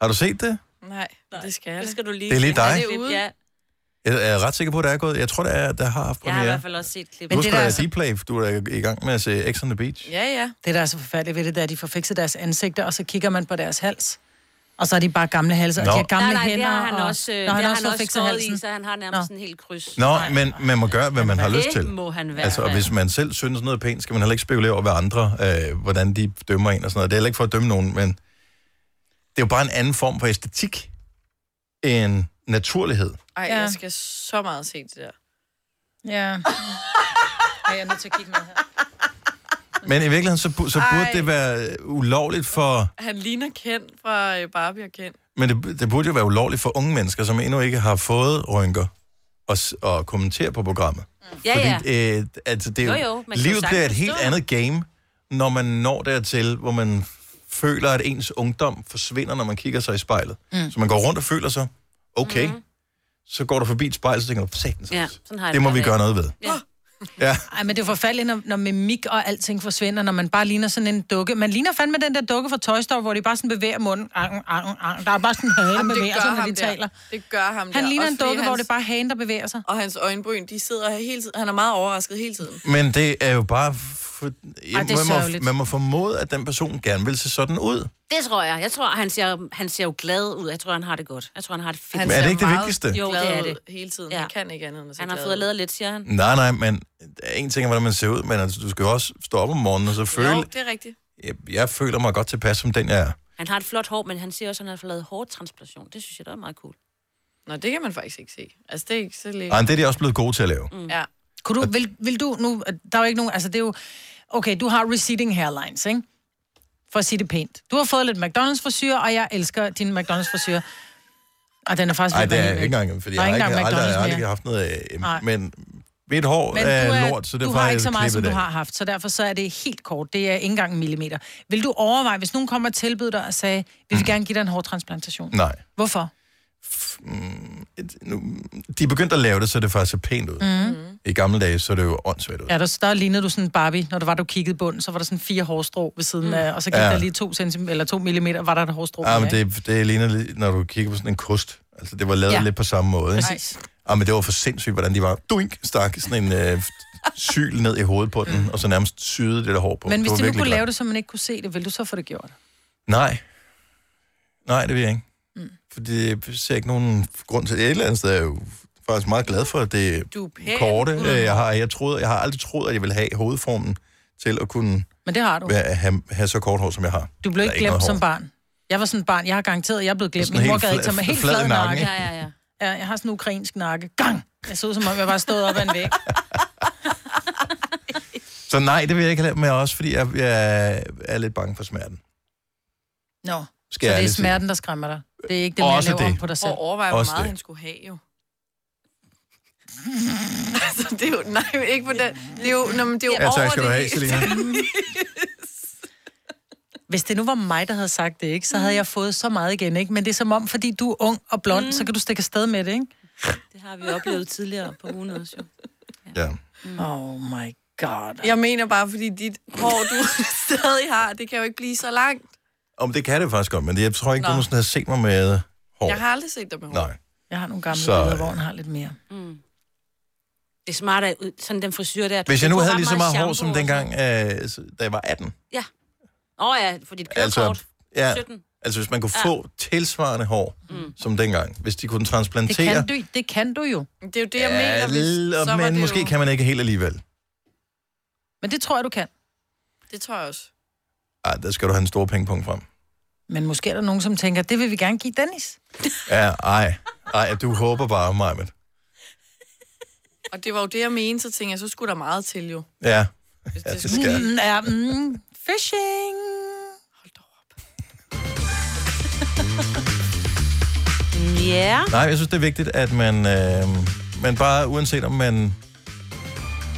[SPEAKER 1] Har du set det?
[SPEAKER 6] Nej, det skal jeg. Det
[SPEAKER 4] skal du lige.
[SPEAKER 1] Det er lige
[SPEAKER 4] se.
[SPEAKER 1] dig.
[SPEAKER 4] det ude? Ja,
[SPEAKER 1] Jeg er ret sikker på, at der er gået. Jeg tror, der, er, der har haft
[SPEAKER 4] jeg har i
[SPEAKER 1] premiere.
[SPEAKER 4] hvert fald også set klippet.
[SPEAKER 1] Du husker, der er Dplay, du er i gang med at se X on the Beach.
[SPEAKER 6] Ja, ja.
[SPEAKER 5] Det, der er så forfærdeligt ved det, det er, at de får fikset deres ansigter, og så kigger man på deres hals. Og så er de bare gamle halse, og de
[SPEAKER 1] Nå.
[SPEAKER 5] har gamle
[SPEAKER 4] nej, nej,
[SPEAKER 5] hænder.
[SPEAKER 4] det har han
[SPEAKER 5] og...
[SPEAKER 4] også, øh,
[SPEAKER 5] Nå,
[SPEAKER 4] det har han
[SPEAKER 5] fået
[SPEAKER 4] også
[SPEAKER 5] fikset
[SPEAKER 4] skåret
[SPEAKER 5] halsen.
[SPEAKER 4] i, så han har nærmest en hel kryds.
[SPEAKER 1] Nå, men man må gøre, hvad man har
[SPEAKER 4] Det
[SPEAKER 1] lyst til.
[SPEAKER 4] må han være.
[SPEAKER 1] Altså, og hvis man selv synes noget er pænt, skal man heller ikke spekulere over, hvad andre, øh, hvordan de dømmer en og sådan noget. Det er heller ikke for at dømme nogen, men det er jo bare en anden form for æstetik end naturlighed.
[SPEAKER 6] Ej,
[SPEAKER 5] Ja.
[SPEAKER 6] jeg skal så meget se det der.
[SPEAKER 5] Ja. Ej, jeg er nødt til at kigge med her.
[SPEAKER 1] Men i virkeligheden, så, bu- så burde
[SPEAKER 6] Ej.
[SPEAKER 1] det være ulovligt for...
[SPEAKER 6] Han ligner Ken fra øh, Barbie og Ken.
[SPEAKER 1] Men det, det burde jo være ulovligt for unge mennesker, som endnu ikke har fået rynker, og, s- og kommentere på programmet.
[SPEAKER 4] Ja, ja.
[SPEAKER 1] Fordi, øh, altså, det er jo,
[SPEAKER 4] Jo, jo,
[SPEAKER 1] jo,
[SPEAKER 4] man kan jo
[SPEAKER 1] livet bliver et
[SPEAKER 4] sagtens
[SPEAKER 1] helt
[SPEAKER 4] forstå.
[SPEAKER 1] andet game, når man når dertil, hvor man f- føler, at ens ungdom forsvinder, når man kigger sig i spejlet.
[SPEAKER 4] Mm.
[SPEAKER 1] Mm. Så man går rundt og føler sig, okay, mm. så går du forbi et spejl, så tænker du, satans,
[SPEAKER 5] Ja,
[SPEAKER 1] ja,
[SPEAKER 5] sådan har jeg
[SPEAKER 1] det må
[SPEAKER 5] det
[SPEAKER 1] vi
[SPEAKER 5] med
[SPEAKER 1] gøre
[SPEAKER 5] det."
[SPEAKER 1] noget ved.
[SPEAKER 4] Ja.
[SPEAKER 1] Ja.
[SPEAKER 5] Ej, men det er forfærdeligt, når, når mimik og alting forsvinder, når man bare ligner sådan en dukke. Man ligner fandme den der dukke fra Toy Story, hvor de bare sådan bevæger munden. Ang, ang, ang. Der er bare sådan en hale, der
[SPEAKER 6] Jamen, det
[SPEAKER 5] bevæger
[SPEAKER 6] gør
[SPEAKER 5] sig, når
[SPEAKER 6] ham
[SPEAKER 5] de
[SPEAKER 6] der.
[SPEAKER 5] taler.
[SPEAKER 6] Det gør ham
[SPEAKER 5] Han
[SPEAKER 6] der.
[SPEAKER 5] ligner
[SPEAKER 6] Også
[SPEAKER 5] en
[SPEAKER 6] fordi
[SPEAKER 5] dukke, hvor
[SPEAKER 6] hans-
[SPEAKER 5] det bare er hagen, der bevæger sig.
[SPEAKER 6] Og hans øjenbryn, de sidder her hele tiden. Han er meget overrasket hele tiden.
[SPEAKER 1] Men det er jo bare... For,
[SPEAKER 6] Ej, det er
[SPEAKER 1] man, må,
[SPEAKER 6] sørgeligt.
[SPEAKER 1] man må formode, at den person gerne vil se sådan ud.
[SPEAKER 4] Det tror jeg. Jeg tror, han ser, han ser jo glad ud. Jeg tror, han har det godt. Jeg tror, han har det fedt.
[SPEAKER 1] Han Men er det ser ikke det meget vigtigste?
[SPEAKER 4] Jo, det
[SPEAKER 6] glad
[SPEAKER 4] er
[SPEAKER 6] ud
[SPEAKER 4] det.
[SPEAKER 6] Hele tiden. Ja. Han kan ikke andet end at se
[SPEAKER 4] Han har
[SPEAKER 6] glad
[SPEAKER 4] fået
[SPEAKER 6] ud.
[SPEAKER 4] lavet lidt, siger han.
[SPEAKER 1] Nej, nej, men der er en ting, er, hvordan man ser ud, men altså, du skal jo også stå op om morgenen og så føle...
[SPEAKER 4] Jo, det er rigtigt.
[SPEAKER 1] Jeg, jeg føler mig godt tilpas, som den jeg er.
[SPEAKER 4] Han har et flot hår, men han siger også, at han har fået lavet hårtransplantation. Det synes jeg, der er meget cool.
[SPEAKER 6] Nå, det kan man faktisk ikke se. Altså, det er ikke så lidt.
[SPEAKER 1] Ej, men det er de også blevet gode til at lave.
[SPEAKER 6] Mm. Ja.
[SPEAKER 5] Kunne du, vil, vil du nu, der er jo ikke nogen, altså det er jo, okay, du har receding hairlines, ikke? For at sige det pænt. Du har fået lidt mcdonalds frisyr og jeg elsker din mcdonalds frisyr Og den er faktisk...
[SPEAKER 1] Nej,
[SPEAKER 5] lidt
[SPEAKER 1] det er
[SPEAKER 5] vanilje.
[SPEAKER 1] ikke engang, fordi
[SPEAKER 5] Der
[SPEAKER 1] jeg
[SPEAKER 5] er
[SPEAKER 1] har ikke,
[SPEAKER 5] engang
[SPEAKER 1] aldrig, aldrig,
[SPEAKER 5] McDonald's
[SPEAKER 1] aldrig
[SPEAKER 5] mere.
[SPEAKER 1] haft noget... Øh,
[SPEAKER 5] Nej.
[SPEAKER 1] men mit hår
[SPEAKER 5] Men
[SPEAKER 1] er, er lort, så det
[SPEAKER 5] du
[SPEAKER 1] får
[SPEAKER 5] har
[SPEAKER 1] jeg
[SPEAKER 5] ikke så meget, som
[SPEAKER 1] klippet
[SPEAKER 5] du
[SPEAKER 1] af.
[SPEAKER 5] har haft, så derfor så er det helt kort. Det er ikke engang en millimeter. Vil du overveje, hvis nogen kommer og tilbyder dig og sagde, vi vil gerne give dig en hårtransplantation?
[SPEAKER 1] Nej.
[SPEAKER 5] Hvorfor?
[SPEAKER 1] De er begyndt at lave det, så det faktisk ser pænt ud. Mm. I gamle dage, så er det jo åndssvagt ud.
[SPEAKER 5] Ja, der, der lignede du sådan en Barbie, når det var, du kiggede bunden, så var der sådan fire hårstrå ved siden af, og så gik
[SPEAKER 1] Mm. Ja.
[SPEAKER 5] ja. der lige to, centimeter, eller to millimeter, var der et hårstrå.
[SPEAKER 1] Ja,
[SPEAKER 5] med,
[SPEAKER 1] Ah, men
[SPEAKER 5] ikke?
[SPEAKER 1] det, det ligner lidt, når du kigger på sådan en kost. Altså, det var lavet
[SPEAKER 5] Ja.
[SPEAKER 1] ja. lidt på samme måde. ikke?
[SPEAKER 5] Præcis.
[SPEAKER 1] Ja, men det var for sindssygt, hvordan de var. Duink stak sådan en øh, syl ned i hovedet på den, og så nærmest syede det der hår på.
[SPEAKER 5] Mm. Men hvis
[SPEAKER 1] var
[SPEAKER 5] de nu
[SPEAKER 1] virkelig
[SPEAKER 5] kunne
[SPEAKER 1] grimt.
[SPEAKER 5] lave det, så man ikke kunne se det, ville du så få det gjort?
[SPEAKER 1] Nej. Nej, det vil jeg ikke. Mm. Fordi jeg ser ikke nogen grund til det. Et eller andet sted er jeg jo faktisk meget glad for det
[SPEAKER 5] Du er pæn.
[SPEAKER 1] korte,
[SPEAKER 5] Mm.
[SPEAKER 1] øh, jeg har. Jeg, troede, jeg har aldrig troet, at jeg ville have hovedformen til at kunne
[SPEAKER 5] Men det har du.
[SPEAKER 1] være, have, have så kort hår, som jeg har.
[SPEAKER 5] Du blev
[SPEAKER 1] Der er
[SPEAKER 5] ikke glemt
[SPEAKER 1] noget
[SPEAKER 5] som
[SPEAKER 1] hår.
[SPEAKER 5] barn. Jeg var sådan et barn. Jeg har garanteret, at jeg er blevet glemt.
[SPEAKER 1] Sådan
[SPEAKER 5] Min mor
[SPEAKER 1] helt
[SPEAKER 5] gad ikke tage mig
[SPEAKER 1] flad-
[SPEAKER 5] helt
[SPEAKER 1] flad
[SPEAKER 5] flad
[SPEAKER 1] i nakken,
[SPEAKER 5] nakke.
[SPEAKER 1] ikke?
[SPEAKER 5] Ja, ja, ja. Ja, jeg har sådan en ukrainsk nakke. Gang! Jeg så ud, som om jeg bare stod op ad en væg.
[SPEAKER 1] Så nej, det vil jeg ikke have med også, fordi jeg, jeg er lidt bange for smerten.
[SPEAKER 5] Nå, så
[SPEAKER 1] Skal
[SPEAKER 5] det
[SPEAKER 1] jeg
[SPEAKER 5] er
[SPEAKER 1] ærligt sige.
[SPEAKER 5] smerten, der skræmmer dig. Det er ikke det, med at
[SPEAKER 1] Også
[SPEAKER 5] lave om
[SPEAKER 1] det.
[SPEAKER 5] på dig selv.
[SPEAKER 6] Og overvej, hvor
[SPEAKER 1] Også
[SPEAKER 6] meget
[SPEAKER 1] det.
[SPEAKER 6] han skulle have, jo. altså, det er jo... Nej, men ikke på den... Det er jo, nå, men det er jo
[SPEAKER 1] Ja, tak
[SPEAKER 6] over
[SPEAKER 1] skal du
[SPEAKER 6] det
[SPEAKER 1] have,
[SPEAKER 6] hele.
[SPEAKER 1] Selina.
[SPEAKER 5] Hvis det nu var mig, der havde sagt det, ikke, så havde jeg fået så meget igen. Ikke? Men det er som om, fordi du er ung og blond,
[SPEAKER 4] Mm.
[SPEAKER 5] mm. så kan du stikke afsted med det, ikke?
[SPEAKER 4] Det har vi oplevet tidligere på ugen også, jo.
[SPEAKER 1] Ja.
[SPEAKER 5] Oh my god.
[SPEAKER 6] Jeg mener bare, fordi dit hår, du stadig har, det kan jo ikke blive så langt.
[SPEAKER 1] Om det kan det faktisk godt, men det, jeg tror ikke, Nå.
[SPEAKER 6] Nå.
[SPEAKER 1] du nogensinde har set mig med hår.
[SPEAKER 6] Jeg har aldrig set dig med hår.
[SPEAKER 1] Nej.
[SPEAKER 5] Jeg har nogle gamle
[SPEAKER 1] Så,
[SPEAKER 5] billeder, hvor hun har lidt mere.
[SPEAKER 4] Mm. Det er smart, at ud- sådan den frisyr der... du
[SPEAKER 1] Hvis jeg
[SPEAKER 4] kan
[SPEAKER 1] nu
[SPEAKER 4] få
[SPEAKER 1] havde
[SPEAKER 4] ret
[SPEAKER 1] lige så meget
[SPEAKER 4] shampoo
[SPEAKER 1] hår som
[SPEAKER 4] og sådan
[SPEAKER 1] dengang, øh, så- da jeg var 18,
[SPEAKER 4] noget. Ja, Åh oh, ja, for dit kørekort.
[SPEAKER 1] Altså,
[SPEAKER 4] Altså,
[SPEAKER 1] ja,
[SPEAKER 4] 17.
[SPEAKER 1] altså hvis man kunne få tilsvarende hår, som dengang, hvis de kunne
[SPEAKER 5] Mm. Det
[SPEAKER 1] transplantere...
[SPEAKER 5] kan, du, det kan du jo.
[SPEAKER 6] Det er jo det,
[SPEAKER 1] ja, og, men måske kan man ikke helt alligevel.
[SPEAKER 5] Men det tror jeg, du kan.
[SPEAKER 6] Det tror jeg også.
[SPEAKER 1] Ej, der skal du have en stor pengepunkt frem.
[SPEAKER 5] Men måske er der nogen, som tænker, det vil vi gerne give Dennis.
[SPEAKER 1] Ja, ej. Ej, du håber bare, Majmet.
[SPEAKER 6] Og det var jo det, jeg mente, så tænkte jeg, så skulle der meget til jo.
[SPEAKER 1] Ja. ja, det skal.
[SPEAKER 5] Mm, ja, mm, fishing.
[SPEAKER 4] Ja.
[SPEAKER 1] Nej, jeg synes, det er vigtigt, at man, øh, man bare, uanset om man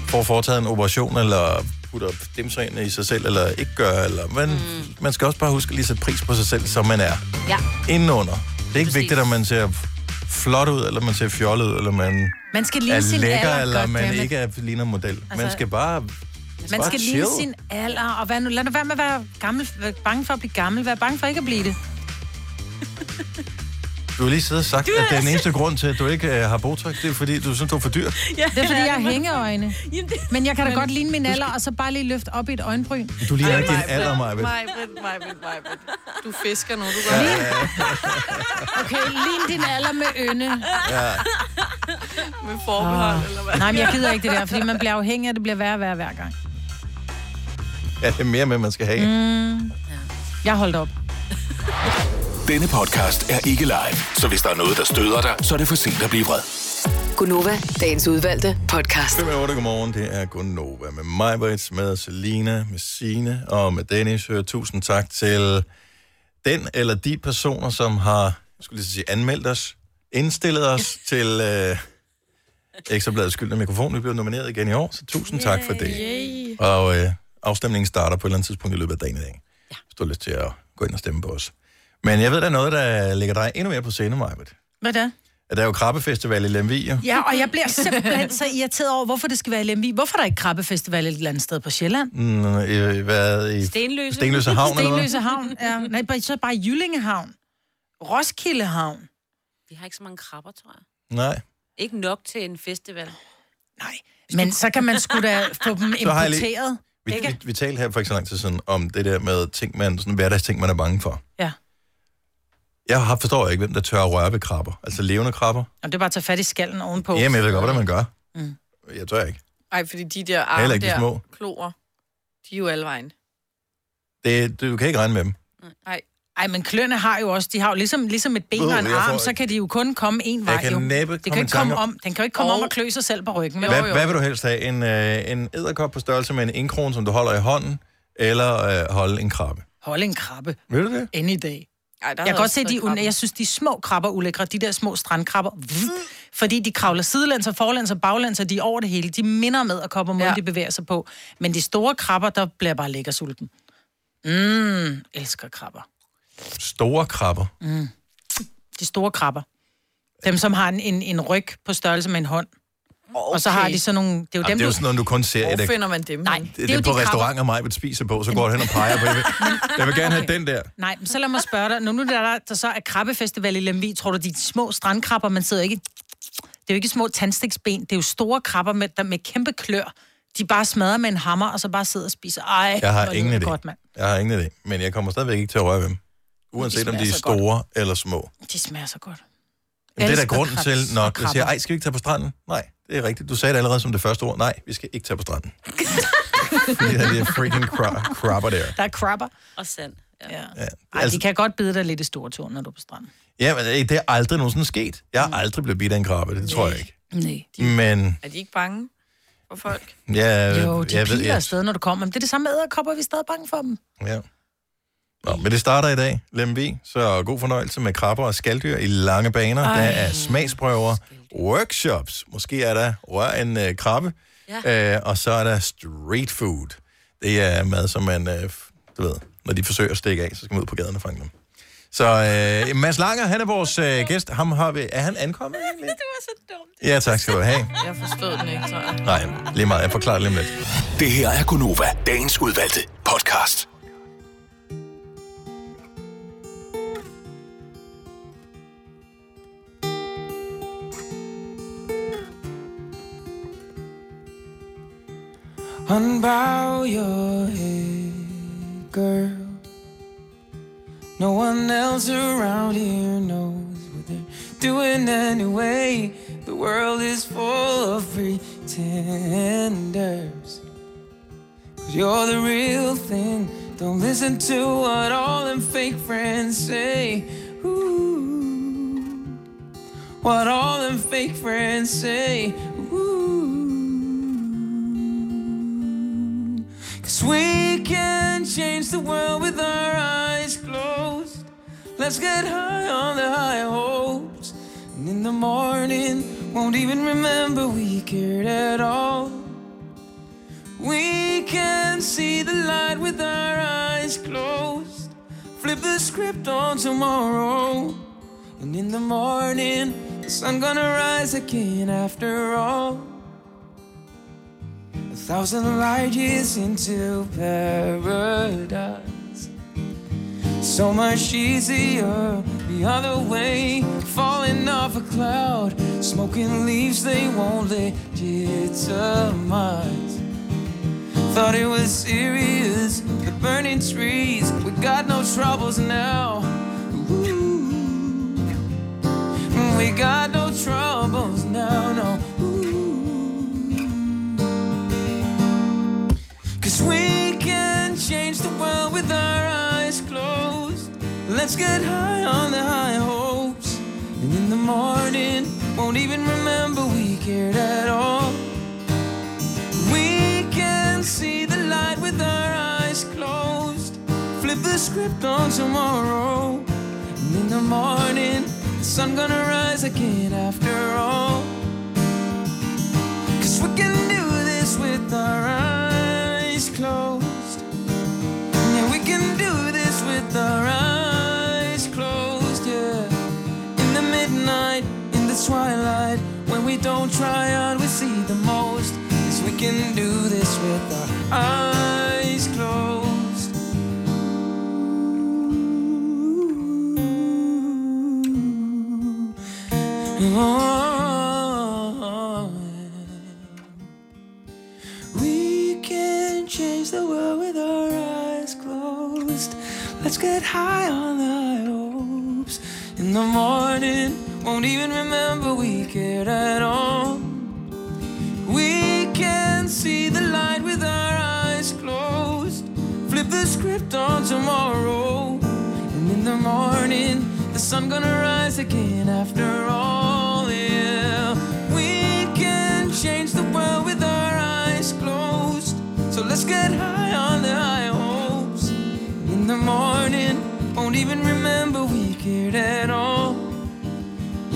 [SPEAKER 1] får foretaget en operation, eller putter dimser ind i sig selv, eller ikke gør, eller, men mm. man skal også bare huske at lige at sætte pris på sig selv, som man er.
[SPEAKER 4] Ja.
[SPEAKER 1] Indenunder. Det er ikke Præcis. vigtigt, om man ser flot ud, eller man ser fjollet ud, eller man
[SPEAKER 5] Man skal lige
[SPEAKER 1] er
[SPEAKER 5] sin
[SPEAKER 1] lækker,
[SPEAKER 5] alder,
[SPEAKER 1] eller man
[SPEAKER 5] goddammit.
[SPEAKER 1] ikke er, ligner en model. Altså, man
[SPEAKER 5] Altså,
[SPEAKER 1] skal bare
[SPEAKER 5] Man
[SPEAKER 1] bare
[SPEAKER 5] skal
[SPEAKER 1] chill.
[SPEAKER 5] lige sin alder, og hvad nu, lad nu være med at være, gammel, være bange for at blive gammel. Vær bange for ikke at blive det.
[SPEAKER 1] Du har lige siddet og sagt, at den eneste grund til, at du ikke øh, har Botox, det er fordi, du synes, du er for dyr.
[SPEAKER 5] Ja, det er, fordi jeg har hængeøjne. Men jeg kan da
[SPEAKER 6] Men-
[SPEAKER 5] godt ligne min alder, og så bare lige løfte op i et øjenbryn.
[SPEAKER 1] Du ligner ikke din alder, Maja.
[SPEAKER 6] Mig, mig, mig, Du fisker nu, du
[SPEAKER 1] Ja,
[SPEAKER 6] gør
[SPEAKER 1] ja,
[SPEAKER 6] det.
[SPEAKER 5] Okay, lign din alder med ønde.
[SPEAKER 1] Ja.
[SPEAKER 6] Med forbehold,
[SPEAKER 5] Ah.
[SPEAKER 6] eller hvad?
[SPEAKER 5] Nej, men jeg gider ikke det der, fordi man bliver afhængig, og det bliver værre og værre hver gang.
[SPEAKER 1] ja, det er mere med, man skal have.
[SPEAKER 5] Mm. Jeg holdt op.
[SPEAKER 17] Denne podcast er ikke live, så hvis der er noget, der støder dig, så er det for sent at blive vred.
[SPEAKER 7] Gunova, dagens udvalgte podcast.
[SPEAKER 1] 5 8, godmorgen, det er Gunnova med mig, Brits, med Selina, med Sine og med Dennis. Øh, Tusind tak til den eller de personer, som har jeg skulle lige sige, anmeldt os, indstillet os til øh, Ekstrabladets skyldende mikrofon. Vi blev nomineret igen i år, så tusind tak for det. Og øh, afstemningen starter på et eller andet tidspunkt i løbet af dagen i dag. Ja. Hvis du har lyst til at gå ind og stemme på os. Men jeg ved, der er noget, der ligger dig endnu mere på scenen, Majbet.
[SPEAKER 5] Hvad da?
[SPEAKER 1] At der er jo krabbefestival i Lemvig, jo.
[SPEAKER 5] Ja, og jeg bliver simpelthen så irriteret over, hvorfor det skal være i Lemvig. Hvorfor er der ikke krabbefestival et eller andet sted på Sjælland?
[SPEAKER 1] Mm, i, hvad, i
[SPEAKER 4] Stenløse.
[SPEAKER 1] Stenløse Havn, eller hvad?
[SPEAKER 5] Stenløse Havn, ja. Nej, bare- så bare Jyllingehavn. Roskilde Havn.
[SPEAKER 4] Vi har ikke så mange krabber, tror jeg.
[SPEAKER 1] Nej.
[SPEAKER 4] Ikke nok til en festival.
[SPEAKER 5] Nej. Men så kan man sgu da få dem
[SPEAKER 1] Så har jeg lige-
[SPEAKER 5] importeret.
[SPEAKER 1] Vi,
[SPEAKER 5] Ikke?
[SPEAKER 1] vi, vi talte her for ikke så lang tid siden om det der med ting, man, sådan hverdagsting, man er bange for.
[SPEAKER 5] Ja.
[SPEAKER 1] Jeg har, forstår ikke, hvem der tør at røre ved krabber. Altså levende krabber.
[SPEAKER 5] Og det er bare at tage fat i skallen ovenpå.
[SPEAKER 1] Jamen, jeg ved godt, hvordan man gør.
[SPEAKER 5] Mm.
[SPEAKER 1] Jeg tør ikke.
[SPEAKER 6] Ej, fordi de der
[SPEAKER 1] Heller
[SPEAKER 6] arme
[SPEAKER 1] ikke de
[SPEAKER 6] der,
[SPEAKER 1] små.
[SPEAKER 6] kloer, de er jo alle vejen.
[SPEAKER 1] Det, du kan ikke regne med dem.
[SPEAKER 5] Ej. Ej, men kløerne har jo også, de har jo ligesom, ligesom et ben
[SPEAKER 1] Ved,
[SPEAKER 5] og en
[SPEAKER 1] jeg får
[SPEAKER 5] arm,
[SPEAKER 1] ikke-
[SPEAKER 5] så kan de jo kun komme en
[SPEAKER 1] Jeg
[SPEAKER 5] vej.
[SPEAKER 1] kan
[SPEAKER 5] jo.
[SPEAKER 1] næppe
[SPEAKER 5] det
[SPEAKER 1] komme
[SPEAKER 5] kan
[SPEAKER 1] i
[SPEAKER 5] ikke komme
[SPEAKER 1] tanke om-
[SPEAKER 5] om, den kan jo ikke komme om og klø sig selv på ryggen. vel?
[SPEAKER 1] Hvad, hvad vil du helst have? En, øh, en æderkop på størrelse med en indkron, som du holder i hånden, eller øh, holde en krabbe?
[SPEAKER 5] Hold en krabbe.
[SPEAKER 1] Vil du det?
[SPEAKER 5] Any day.
[SPEAKER 6] Ej,
[SPEAKER 5] Jeg kan godt se, de, un- jeg synes, de små krabber er ulækre, de der små strandkrabber, vvv, fordi de kravler sidelæns og forlæns og baglæns, og de er over det hele. De minder med at komme måden, ja. de bevæger sig på. Men de store krabber, der bliver jeg bare lækker sulten. Mm, elsker krabber.
[SPEAKER 1] Store krabber.
[SPEAKER 5] Mm. De store krabber. Dem, som har en, en, en ryg på størrelse med en hånd. Okay. Og så har de sådan nogle... Det er jo
[SPEAKER 1] Jamen,
[SPEAKER 5] dem,
[SPEAKER 1] det er jo
[SPEAKER 5] du-
[SPEAKER 1] sådan noget, du kun ser i dag. Det,
[SPEAKER 6] man dem? Nej,
[SPEAKER 1] det, det er på restauranter, mig vil spise på, så går du hen og peger på. Jeg vil, jeg vil gerne have den der.
[SPEAKER 5] Nej, men så lad mig spørge dig. Nu, nu der, der, der så er krabbefestival i Lemvig, tror du, de små strandkrabber, man sidder ikke... Det er jo ikke små tandstiksben, det er jo store krabber med, der, med kæmpe klør. De bare smadrer med en hammer, og så bare sidder og spiser. Ej,
[SPEAKER 1] Jeg har
[SPEAKER 5] hvor lyder
[SPEAKER 1] ingen
[SPEAKER 5] det
[SPEAKER 1] idé.
[SPEAKER 5] Godt, mand.
[SPEAKER 1] Jeg har ingen idé, men jeg kommer stadigvæk ikke til at røre ved dem. Uanset om
[SPEAKER 5] smager
[SPEAKER 1] de er
[SPEAKER 5] så godt.
[SPEAKER 1] store godt. eller små.
[SPEAKER 5] De smager så godt.
[SPEAKER 1] Jamen, det er da
[SPEAKER 5] Elsker
[SPEAKER 1] grunden til,
[SPEAKER 5] krebs
[SPEAKER 1] når
[SPEAKER 5] og
[SPEAKER 1] du siger,
[SPEAKER 5] krabber.
[SPEAKER 1] ej, skal vi ikke tage på stranden? Nej, det er rigtigt. Du sagde det allerede som det første ord. Nej, vi skal ikke tage på stranden. Fordi der er de her freaking kra- krabber der.
[SPEAKER 5] Der er krabber.
[SPEAKER 4] Og sand. Ja.
[SPEAKER 5] ja.
[SPEAKER 1] Ja,
[SPEAKER 5] Ej,
[SPEAKER 1] altså-
[SPEAKER 5] de kan godt bide dig lidt i store tårn, når du er på stranden.
[SPEAKER 1] Ja, men øh, det er aldrig nogensinde sket. Jeg er aldrig blevet bidt af en krabbe, det tror jeg ikke.
[SPEAKER 5] Nej.
[SPEAKER 1] Men
[SPEAKER 6] Er de ikke bange for folk?
[SPEAKER 1] jeg,
[SPEAKER 5] Jo, de
[SPEAKER 1] Øh, jeg
[SPEAKER 5] piler
[SPEAKER 1] ved, jeg,
[SPEAKER 5] afsted, når du kommer. Men det er det samme med æderkopper, vi er stadig bange for dem.
[SPEAKER 1] ja. Nå, men det starter i dag, Lemby, så god fornøjelse med krabber og skalddyr i lange baner. Ej.
[SPEAKER 5] Ej.
[SPEAKER 1] Der er smagsprøver, workshops, måske er der rør en øh, krabbe, ja. øh, og så er der street food. Det er mad, som man, øh, f- du ved, når de forsøger at stikke af, så skal man ud på gaden og fange dem. Så øh, Mads Langer, han er vores øh, gæst. Ham har vi, er han ankommet egentlig? det
[SPEAKER 6] var så dumt.
[SPEAKER 1] Ja, tak skal du have.
[SPEAKER 6] Jeg forstod den ikke, tror jeg.
[SPEAKER 1] Nej, lige meget. Jeg forklarer det lige om lidt.
[SPEAKER 17] Det her er Gunova, dagens udvalgte podcast.
[SPEAKER 18] Unbow your head, girl. No one else around here knows what they're doing anyway. The world is full of pretenders. But you're the real thing. Don't listen to what all them fake friends say. Ooh. What all them fake friends say. Ooh. Cause we can change the world with our eyes closed. Let's get high on the high hopes. And in the morning, won't even remember we cared at all. We can see the light with our eyes closed. Flip the script on tomorrow. And in the morning, the sun gonna rise again after all. A thousand light years into paradise. So much easier the other way. Falling off a cloud, smoking leaves they won't legitimize. Thought it was serious, the burning trees. We got no troubles now. Ooh. We got no troubles now, no. Cause we can change the world with our eyes closed. Let's get high on the high hopes. And in the morning, won't even remember we cared at all. We can see the light with our eyes closed. Flip the script on tomorrow. And in the morning, the sun gonna rise again after all. Cause we can do this with our eyes closed. Yeah, we can do this with our eyes closed, yeah. In the midnight, in the twilight, when we don't try out, we see the most. Yes, we can do this with our eyes closed. Oh, we can change the world with our eyes closed. Let's get high on the hopes. In the morning, won't even remember we cared at all. We can see the light with our eyes closed. Flip the script on tomorrow. And in the morning, the sun gonna rise again after all. Yeah. We can change the world with our eyes closed. So let's get high on the high hopes. In the morning, won't even remember we cared at all.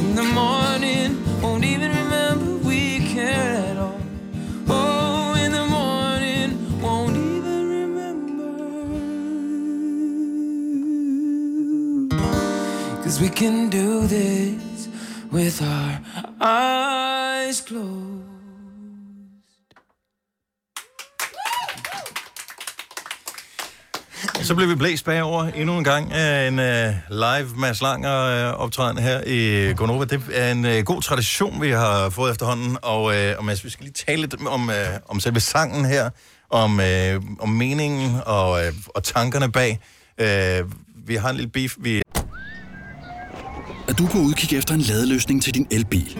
[SPEAKER 18] In the morning, won't even remember we cared at all. Oh, in the morning, won't even remember. Cause we can do this with our eyes closed.
[SPEAKER 1] Så blev vi blæst bagover endnu en gang af en øh, live Mads Langer øh, optræden her i Gonova. Det er en øh, god tradition, vi har fået efterhånden. Og, øh, og Mads, vi skal lige tale lidt om, øh, om selve sangen her, om, øh, om meningen og, øh, og tankerne bag. Øh, vi har en lille beef. Vi...
[SPEAKER 19] Er du på udkig efter en ladeløsning til din elbil?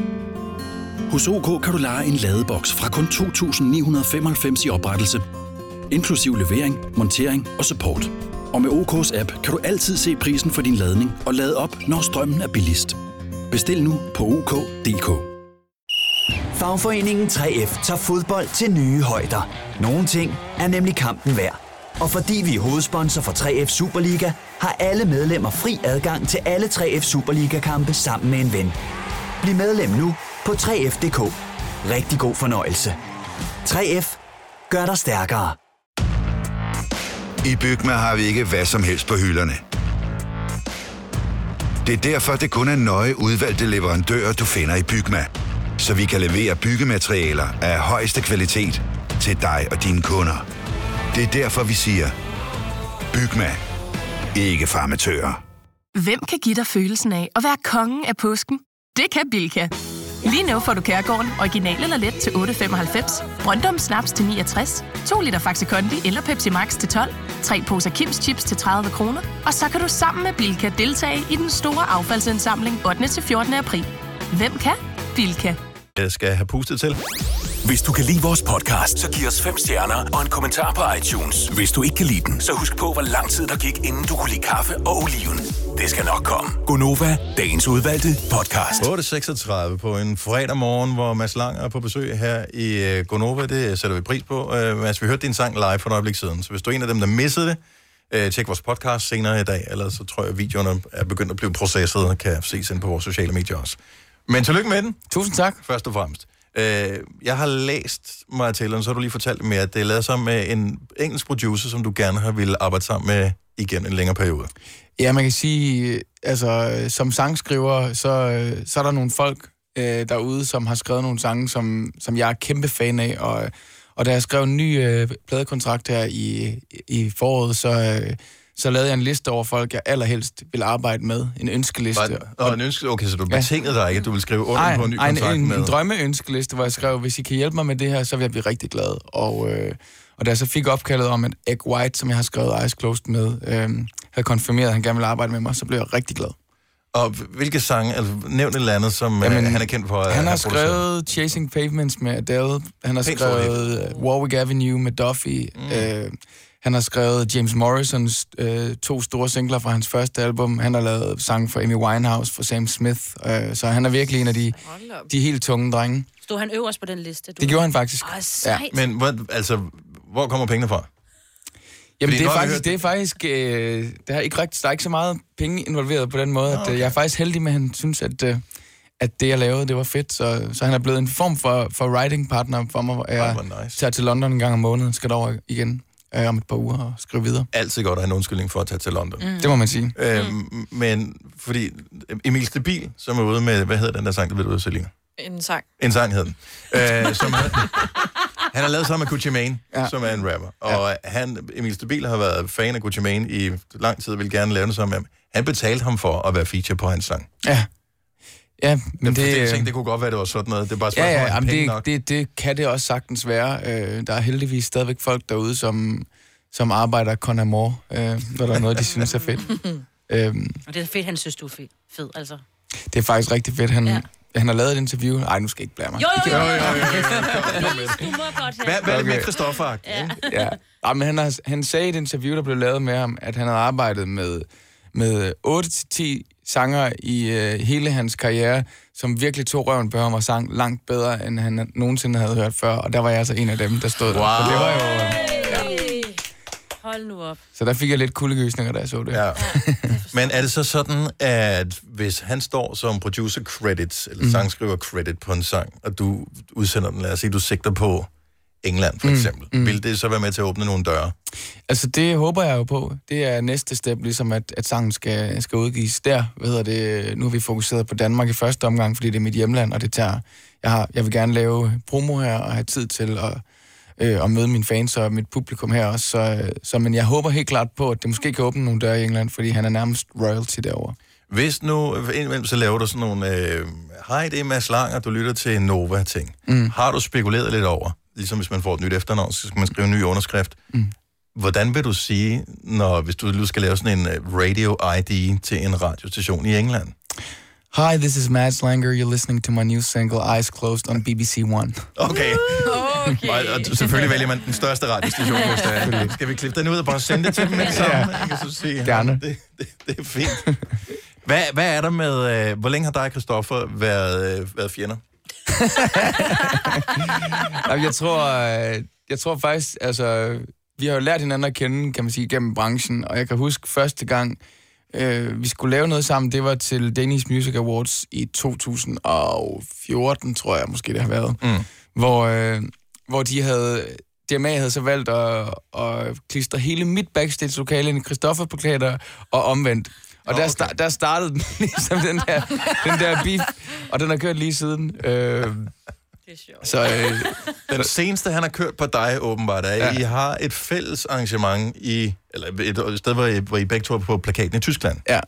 [SPEAKER 19] Hos OK kan du lege en ladeboks fra kun 2.995 i oprettelse, inklusiv levering, montering og support. Og med OK's app kan du altid se prisen for din ladning og lade op, når strømmen er billigst. Bestil nu på OK.dk.
[SPEAKER 20] Fagforeningen 3F tager fodbold til nye højder. Nogle ting er nemlig kampen værd. Og fordi vi er hovedsponsor for 3F Superliga, har alle medlemmer fri adgang til alle 3F Superliga-kampe sammen med en ven. Bliv medlem nu på 3F.dk. Rigtig god fornøjelse. 3F gør dig stærkere.
[SPEAKER 21] I Bygma har vi ikke hvad som helst på hylderne. Det er derfor, det kun er nøje udvalgte leverandører, du finder i Bygma. Så vi kan levere byggematerialer af højeste kvalitet til dig og dine kunder. Det er derfor, vi siger, Bygma. Ikke farmatører.
[SPEAKER 22] Hvem kan give dig følelsen af at være kongen af påsken? Det kan Bilka! Lige nu får du Kærgården original eller let til 8.95, Brøndum Snaps til 69, 2 liter Faxi Kondi eller Pepsi Max til 12, 3 poser Kims Chips til 30 kroner, og så kan du sammen med Bilka deltage i den store affaldsindsamling 8. til 14. april. Hvem kan? Bilka.
[SPEAKER 1] Jeg øh, skal have pustet til.
[SPEAKER 17] Hvis du kan lide vores podcast, så giv os fem stjerner og en kommentar på iTunes. Hvis du ikke kan lide den, så husk på, hvor lang tid der gik, inden du kunne lide kaffe og oliven. Det skal nok komme.
[SPEAKER 1] Gonova, dagens udvalgte podcast. 8.36 på en fredag morgen, hvor Mads Lang er på besøg her i øh, Gonova. Det sætter vi pris på. Øh, Mads, vi hørte din sang live for et øjeblik siden, så hvis du er en af dem, der missede det, øh, tjek vores podcast senere i dag, ellers så tror jeg, at videoerne er begyndt at blive processet og kan ses ind på vores sociale medier også. Men tillykke med den.
[SPEAKER 3] Tusind tak.
[SPEAKER 1] Først og fremmest. Øh, jeg har læst mig til, og så har du lige fortalt mig, at det er lavet sammen med en engelsk producer, som du gerne har ville arbejde sammen med igen en længere periode.
[SPEAKER 3] Ja, man kan sige, øh, altså øh, som sangskriver, så, øh, så er der nogle folk øh, derude, som har skrevet nogle sange, som, som jeg er kæmpe fan af, og, øh, og da jeg skrev en ny øh, pladekontrakt her i, i foråret, så, øh, så lavede jeg en liste over folk, jeg allerhelst ville arbejde med, en ønskeliste.
[SPEAKER 1] Var, og en ønske, okay, så du betingede dig ikke, at du ville skrive under
[SPEAKER 3] Ej,
[SPEAKER 1] på en ny
[SPEAKER 3] ej,
[SPEAKER 1] kontrakt
[SPEAKER 3] en,
[SPEAKER 1] med...
[SPEAKER 3] en drømmeønskeliste, hvor jeg skrev, hvis I kan hjælpe mig med det her, så vil jeg blive rigtig glad. Og, øh, og da jeg så fik opkaldet om, at Egg White, som jeg har skrevet Eyes Closed med, øh, havde konfirmeret, at han gerne ville arbejde med mig, så blev jeg rigtig glad.
[SPEAKER 1] Og hvilke sange, altså nævn et eller andet, som Jamen,
[SPEAKER 3] Jamen,
[SPEAKER 1] han er kendt for at
[SPEAKER 3] Han har
[SPEAKER 1] have produceret.
[SPEAKER 3] skrevet Chasing Pavements med Adele. Han har
[SPEAKER 1] Pænt
[SPEAKER 3] skrevet øh, Warwick Avenue med Duffy. Mm. Øh, han har skrevet James Morrisons øh, to store singler fra hans første album. Han har lavet sange for Amy Winehouse, for Sam Smith. Øh, så han er virkelig en af de, de helt tunge drenge.
[SPEAKER 4] Stod han øverst på den liste? Du?
[SPEAKER 3] Det gjorde han faktisk.
[SPEAKER 4] Åh, sejt. Ja.
[SPEAKER 1] Men hvor, altså, hvor kommer pengene fra?
[SPEAKER 3] Jamen,
[SPEAKER 1] Fordi
[SPEAKER 3] det er,
[SPEAKER 1] nu har vi
[SPEAKER 3] faktisk, det er faktisk... Øh, der, er ikke rigtig, der er ikke så meget penge involveret på den måde. Okay. At, øh, jeg er faktisk heldig med, at han synes, at, øh, at det, jeg lavede, det var fedt. Så, så han er blevet en form for, for writing partner for mig. hvor Jeg nice. tager til London en gang om måneden, skal derover igen øh, om et par uger og skrive videre.
[SPEAKER 1] Altid godt at have en undskyldning for at tage til London.
[SPEAKER 3] Mm. Det må man sige.
[SPEAKER 1] Øhm, Men fordi Emil Stabil, som er ude med, hvad hedder den der sang, der blev ude, Selina?
[SPEAKER 6] En sang.
[SPEAKER 1] En sang hed den. Øh, som han, han har lavet sammen med Gucci Mane, ja. som er en rapper. Og han, Emil Stabil har været fan af Gucci Mane i lang tid, og ville gerne lave noget sammen med ham. Han betalte ham for at være feature på hans sang.
[SPEAKER 3] Ja. Ja, men det... øh,
[SPEAKER 1] det, jeg tænkte, det kunne godt være, det var sådan noget. Det er bare et spørgsmål,
[SPEAKER 3] Ja, ja,
[SPEAKER 1] om
[SPEAKER 3] jamen
[SPEAKER 1] penge
[SPEAKER 3] det,
[SPEAKER 1] nok.
[SPEAKER 3] det, det kan det også sagtens være. Øh, der er heldigvis stadigvæk folk derude, som, som arbejder con amor, øh, når der er noget, de synes er fedt. øh,
[SPEAKER 4] Og det er fedt, han synes, du er fed, fed altså.
[SPEAKER 3] Det er faktisk rigtig fedt. Han, ja. han har lavet et interview. Nej, nu skal jeg ikke blære mig.
[SPEAKER 4] Jo, jo, jo, jo,
[SPEAKER 1] jo, jo.
[SPEAKER 4] Du må godt have.
[SPEAKER 1] Hvad, hvad er det med
[SPEAKER 3] Okay.
[SPEAKER 1] Christoffer?
[SPEAKER 4] Ja.
[SPEAKER 3] ja. Ej, men han, har, han sagde i et interview, der blev lavet med ham, at han havde arbejdet med, med 8-10 sanger i øh, hele hans karriere, som virkelig tog røven på ham og sang langt bedre, end han nogensinde havde hørt før. Og der var jeg så en af dem, der stod wow. der. Så, det var jo, øh,
[SPEAKER 4] Hey. Hold nu op.
[SPEAKER 3] så der fik jeg lidt kuldegysninger, da jeg så det.
[SPEAKER 1] Ja. Men er det så sådan, at hvis han står som producer credit, eller mm. sangskriver credit på en sang, og du udsender den, lad os sige, du sigter på England for
[SPEAKER 3] Mm,
[SPEAKER 1] eksempel, mm. vil det så være med til at åbne nogle døre?
[SPEAKER 3] Altså, det håber jeg jo på. Det er næste step, ligesom at, at sangen skal, skal udgives der. Hvad hedder det? Nu har vi fokuseret på Danmark i første omgang, fordi det er mit hjemland, og det tager... Jeg, har, jeg vil gerne lave promo her og have tid til at, øh, at møde mine fans og mit publikum her også. Så, så, men jeg håber helt klart på, at det måske kan åbne nogle døre i England, fordi han er nærmest royalty derovre.
[SPEAKER 1] Hvis nu, indimellem så laver du sådan nogle, øh, hej, det er Mads Lang, og du lytter til Nova-ting. Mm. Har du spekuleret lidt over, ligesom hvis man får et nyt efternavn, så skal man skrive en ny underskrift. Mm. Hvordan vil du sige, når, hvis du nu skal lave sådan en øh, radio-ID til en radiostation i England?
[SPEAKER 3] Hi, this is Mads Langer. You're listening to my new single, Eyes Closed, on BBC One.
[SPEAKER 1] Okay. okay. Og, og selvfølgelig vælger man den største radiostation, hvis det er. Skal vi klippe den ud og bare sende det til dem alle sammen? Jeg kan så sige,
[SPEAKER 3] Gerne.
[SPEAKER 1] Det, det, det er fint. Hvad, hvad er der med... Øh, hvor længe har dig og Christoffer været, øh, været fjender?
[SPEAKER 3] Jamen, jeg tror, øh, jeg tror faktisk, altså, vi har jo lært hinanden at kende, kan man sige, gennem branchen, og jeg kan huske første gang, øh, vi skulle lave noget sammen, det var til Danish Music Awards i 2014, tror jeg måske det har været,
[SPEAKER 1] Mm.
[SPEAKER 3] hvor, øh, hvor de havde, DMA havde så valgt at, at klistre hele mit backstage-lokale ind i Christoffer-plakater og omvendt. Og der, sta- der startede den, ligesom den der, den der beef, og den har kørt lige siden. Øh, så, øh,
[SPEAKER 1] den seneste, han har kørt på dig, åbenbart, er, ja. I har et fælles arrangement i... Eller et, et sted, hvor I, hvor I begge to er på plakaten i Tyskland.
[SPEAKER 3] Ja.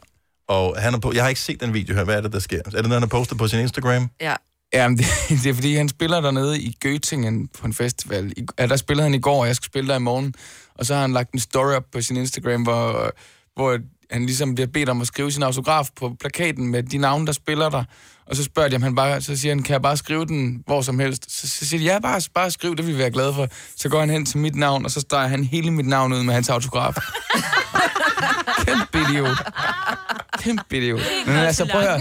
[SPEAKER 1] Og han er på... Jeg har ikke set den video her. Hvad er det, der sker? Er det noget, han har postet på sin Instagram?
[SPEAKER 6] Ja.
[SPEAKER 3] Jamen, det, det er fordi, han spiller dernede i Göttingen på en festival. I, ja, der spillede han i går, og jeg skal spille der i morgen. Og så har han lagt en story op på sin Instagram, hvor, hvor han ligesom bliver bedt om at skrive sin autograf på plakaten med de navne, der spiller der. Og så spørger de, om han bare, så siger han, kan jeg bare skrive den hvor som helst? Så, så siger de, ja, bare, bare skriv, det vil vi være glade for. Så går han hen til mit navn, og så streger han hele mit navn ud med hans autograf. Kæmpe idiot. Kæmpe idiot. Men altså, prøv at høre.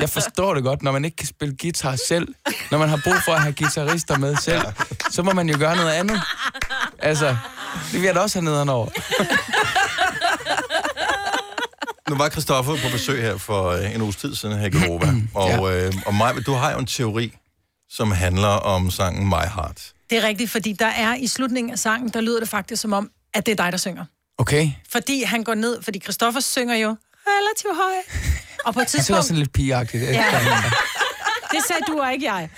[SPEAKER 3] Jeg forstår det godt, når man ikke kan spille guitar selv, når man har brug for at have guitarister med selv, så må man jo gøre noget andet. Altså, det vil jeg da også have nederen over.
[SPEAKER 1] Nu var Christoffer på besøg her for øh, en uges tid siden her i Genova. Og, øh, og Maj, du har jo en teori, som handler om sangen My Heart.
[SPEAKER 5] Det er rigtigt, fordi der er i slutningen af sangen, der lyder det faktisk som om, at det er dig, der synger.
[SPEAKER 3] Okay?
[SPEAKER 5] Fordi han går ned, fordi Christoffer synger jo relativt høj. Og på et
[SPEAKER 3] Jeg synes også,
[SPEAKER 5] tidspunkt...
[SPEAKER 3] det er lidt pigeagtigt.
[SPEAKER 5] Ja. Det sagde du og ikke jeg.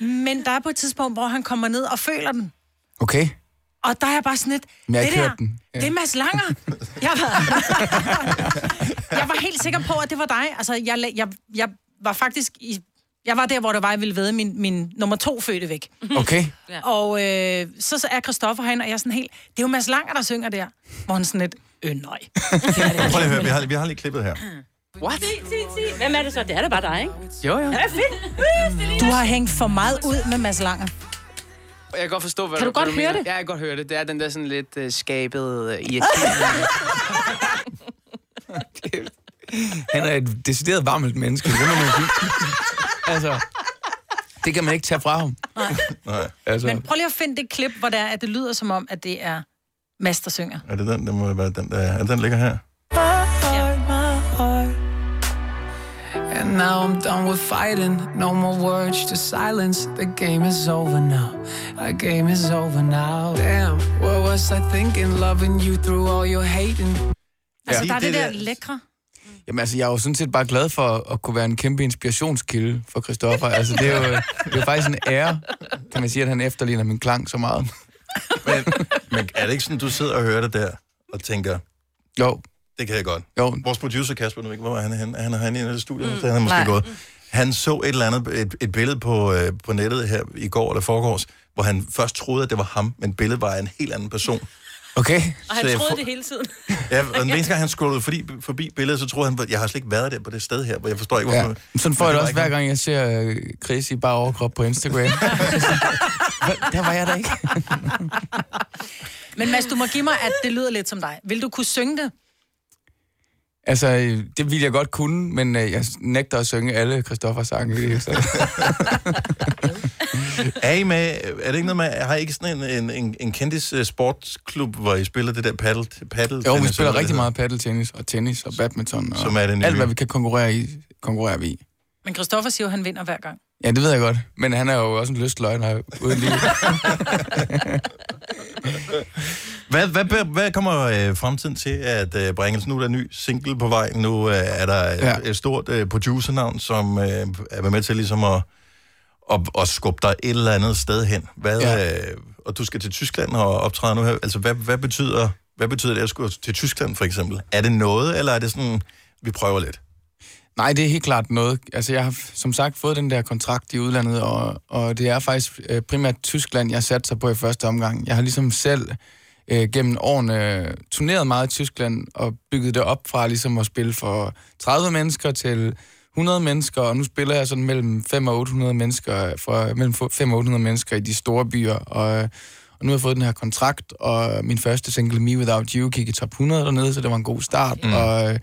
[SPEAKER 5] Men der er på et tidspunkt, hvor han kommer ned og føler den.
[SPEAKER 3] Okay?
[SPEAKER 5] Og der er jeg bare sådan lidt...
[SPEAKER 3] Men jeg har
[SPEAKER 5] det
[SPEAKER 3] ikke
[SPEAKER 5] der,
[SPEAKER 3] hørt den. Ja.
[SPEAKER 5] det er Mads Langer. Jeg var, jeg var helt sikker på, at det var dig. Altså, jeg, la- jeg, jeg var faktisk i... Jeg var der, hvor det var, jeg ville vide min, min nummer to fødte væk.
[SPEAKER 3] Okay.
[SPEAKER 5] Ja. Og øh, så, så er Christoffer herinde, og jeg er sådan helt... Det er jo Mads Langer, der synger der. Hvor han sådan lidt... Øh, nej.
[SPEAKER 1] Prøv lige at høre, vi har, vi har lige klippet her.
[SPEAKER 4] What? Se, se, se. Hvem er det så? Det er da bare dig, ikke?
[SPEAKER 3] Jo, jo.
[SPEAKER 4] Ja, det er fedt. Uh, det
[SPEAKER 5] Du
[SPEAKER 4] ligner-
[SPEAKER 5] har hængt for meget ud med Mads Langer.
[SPEAKER 23] Jeg kan godt forstå, hvad
[SPEAKER 5] Kan du
[SPEAKER 23] hvad
[SPEAKER 5] godt
[SPEAKER 23] mener.
[SPEAKER 5] høre det?
[SPEAKER 23] Ja, jeg kan godt høre det. Det er den der sådan lidt uh, skabede uh,
[SPEAKER 3] Han er et decideret varmt menneske. Det må man sige. Altså, det kan man ikke tage fra ham.
[SPEAKER 5] Nej.
[SPEAKER 1] Nej.
[SPEAKER 3] Altså,
[SPEAKER 5] Men prøv lige at finde det klip, hvor det, er, at det lyder som om, at det er Mads, der synger.
[SPEAKER 1] Er det den, der må være den, der, er det den der ligger her?
[SPEAKER 18] My heart, my heart. And now I'm done with fighting. No more words to silence. The game is over now. Our game is over now. Damn, what was I thinking? Loving you through all your hating.
[SPEAKER 5] Altså, der er det, der lækre.
[SPEAKER 3] Jamen altså, jeg er jo sådan set bare glad for at kunne være en kæmpe inspirationskilde for Christoffer. Altså, det er jo, det er jo faktisk en ære, kan man sige, at han efterligner min klang så meget.
[SPEAKER 1] Men er det ikke sådan, du sidder og hører det der, og tænker...
[SPEAKER 3] Jo.
[SPEAKER 1] Det kan jeg godt.
[SPEAKER 3] Jo.
[SPEAKER 1] Vores producer Kasper, nu ved jeg ikke, hvor er han henne? Er han herinde i et studie? Mm.
[SPEAKER 21] Mm.
[SPEAKER 1] Han er måske
[SPEAKER 21] Nej.
[SPEAKER 1] gået. Han så et eller andet, et, et billede på, øh, på nettet her i går eller forgårs, hvor han først troede, at det var ham, men billedet var af en helt anden person.
[SPEAKER 3] Okay.
[SPEAKER 4] Og han troede det hele tiden.
[SPEAKER 1] Ja, og den eneste gang, han scrollede forbi, forbi billedet, så troede han, jeg har slet ikke været der på det sted her, hvor jeg forstår ikke, hvorfor...
[SPEAKER 3] Ja. Sådan får
[SPEAKER 1] Men
[SPEAKER 3] jeg det
[SPEAKER 1] var
[SPEAKER 3] også
[SPEAKER 1] ikke
[SPEAKER 3] hver gang, jeg ser øh, Chris i bare overkrop på Instagram. Hva- der var jeg da ikke.
[SPEAKER 5] Men Mads, du må give mig, at det lyder lidt som dig. Vil du kunne synge det?
[SPEAKER 3] Altså, øh, det ville jeg godt kunne, men øh, jeg nægter at synge alle Christoffers sange. Så.
[SPEAKER 1] Er, I med, er det ikke noget med, har I ikke sådan en, en, en, en kendis øh, sportsklub, hvor I spiller det der paddle, paddle
[SPEAKER 3] Jo, vi spiller rigtig meget paddeltennis og tennis og badminton. Og
[SPEAKER 1] Som er det nye.
[SPEAKER 3] Alt, hvad vi kan konkurrere i, konkurrerer vi i.
[SPEAKER 5] Men Christoffer siger jo, at han vinder hver gang.
[SPEAKER 3] Ja, det ved jeg godt. Men han er jo også en lystløgner uden lige.
[SPEAKER 1] Hvad, hvad, hvad, hvad kommer øh, fremtiden til at øh, bringe? os? Nu er der en ny single på vej. Nu øh, er der et, ja. et stort øh, producernavn, som øh, er med til ligesom at, at, at skubbe dig et eller andet sted hen. Hvad, ja. øh, og du skal til Tyskland og optræde nu her. Altså, hvad, hvad, betyder, hvad betyder det at skulle til Tyskland, for eksempel? Er det noget, eller er det sådan, vi prøver lidt?
[SPEAKER 3] Nej, det er helt klart noget. Altså, jeg har f- som sagt fået den der kontrakt i udlandet, og, og det er faktisk øh, primært Tyskland, jeg satte sig på i første omgang. Jeg har ligesom selv øh, gennem årene øh, turneret meget i Tyskland, og bygget det op fra ligesom at spille for 30 mennesker til 100 mennesker, og nu spiller jeg sådan mellem 5 og 800 mennesker, øh, fra, mellem 5 og 800 mennesker i de store byer, og, øh, og nu har jeg fået den her kontrakt, og min første single, Me Without You, gik i top 100 dernede, så det var en god start, mm. og... Øh,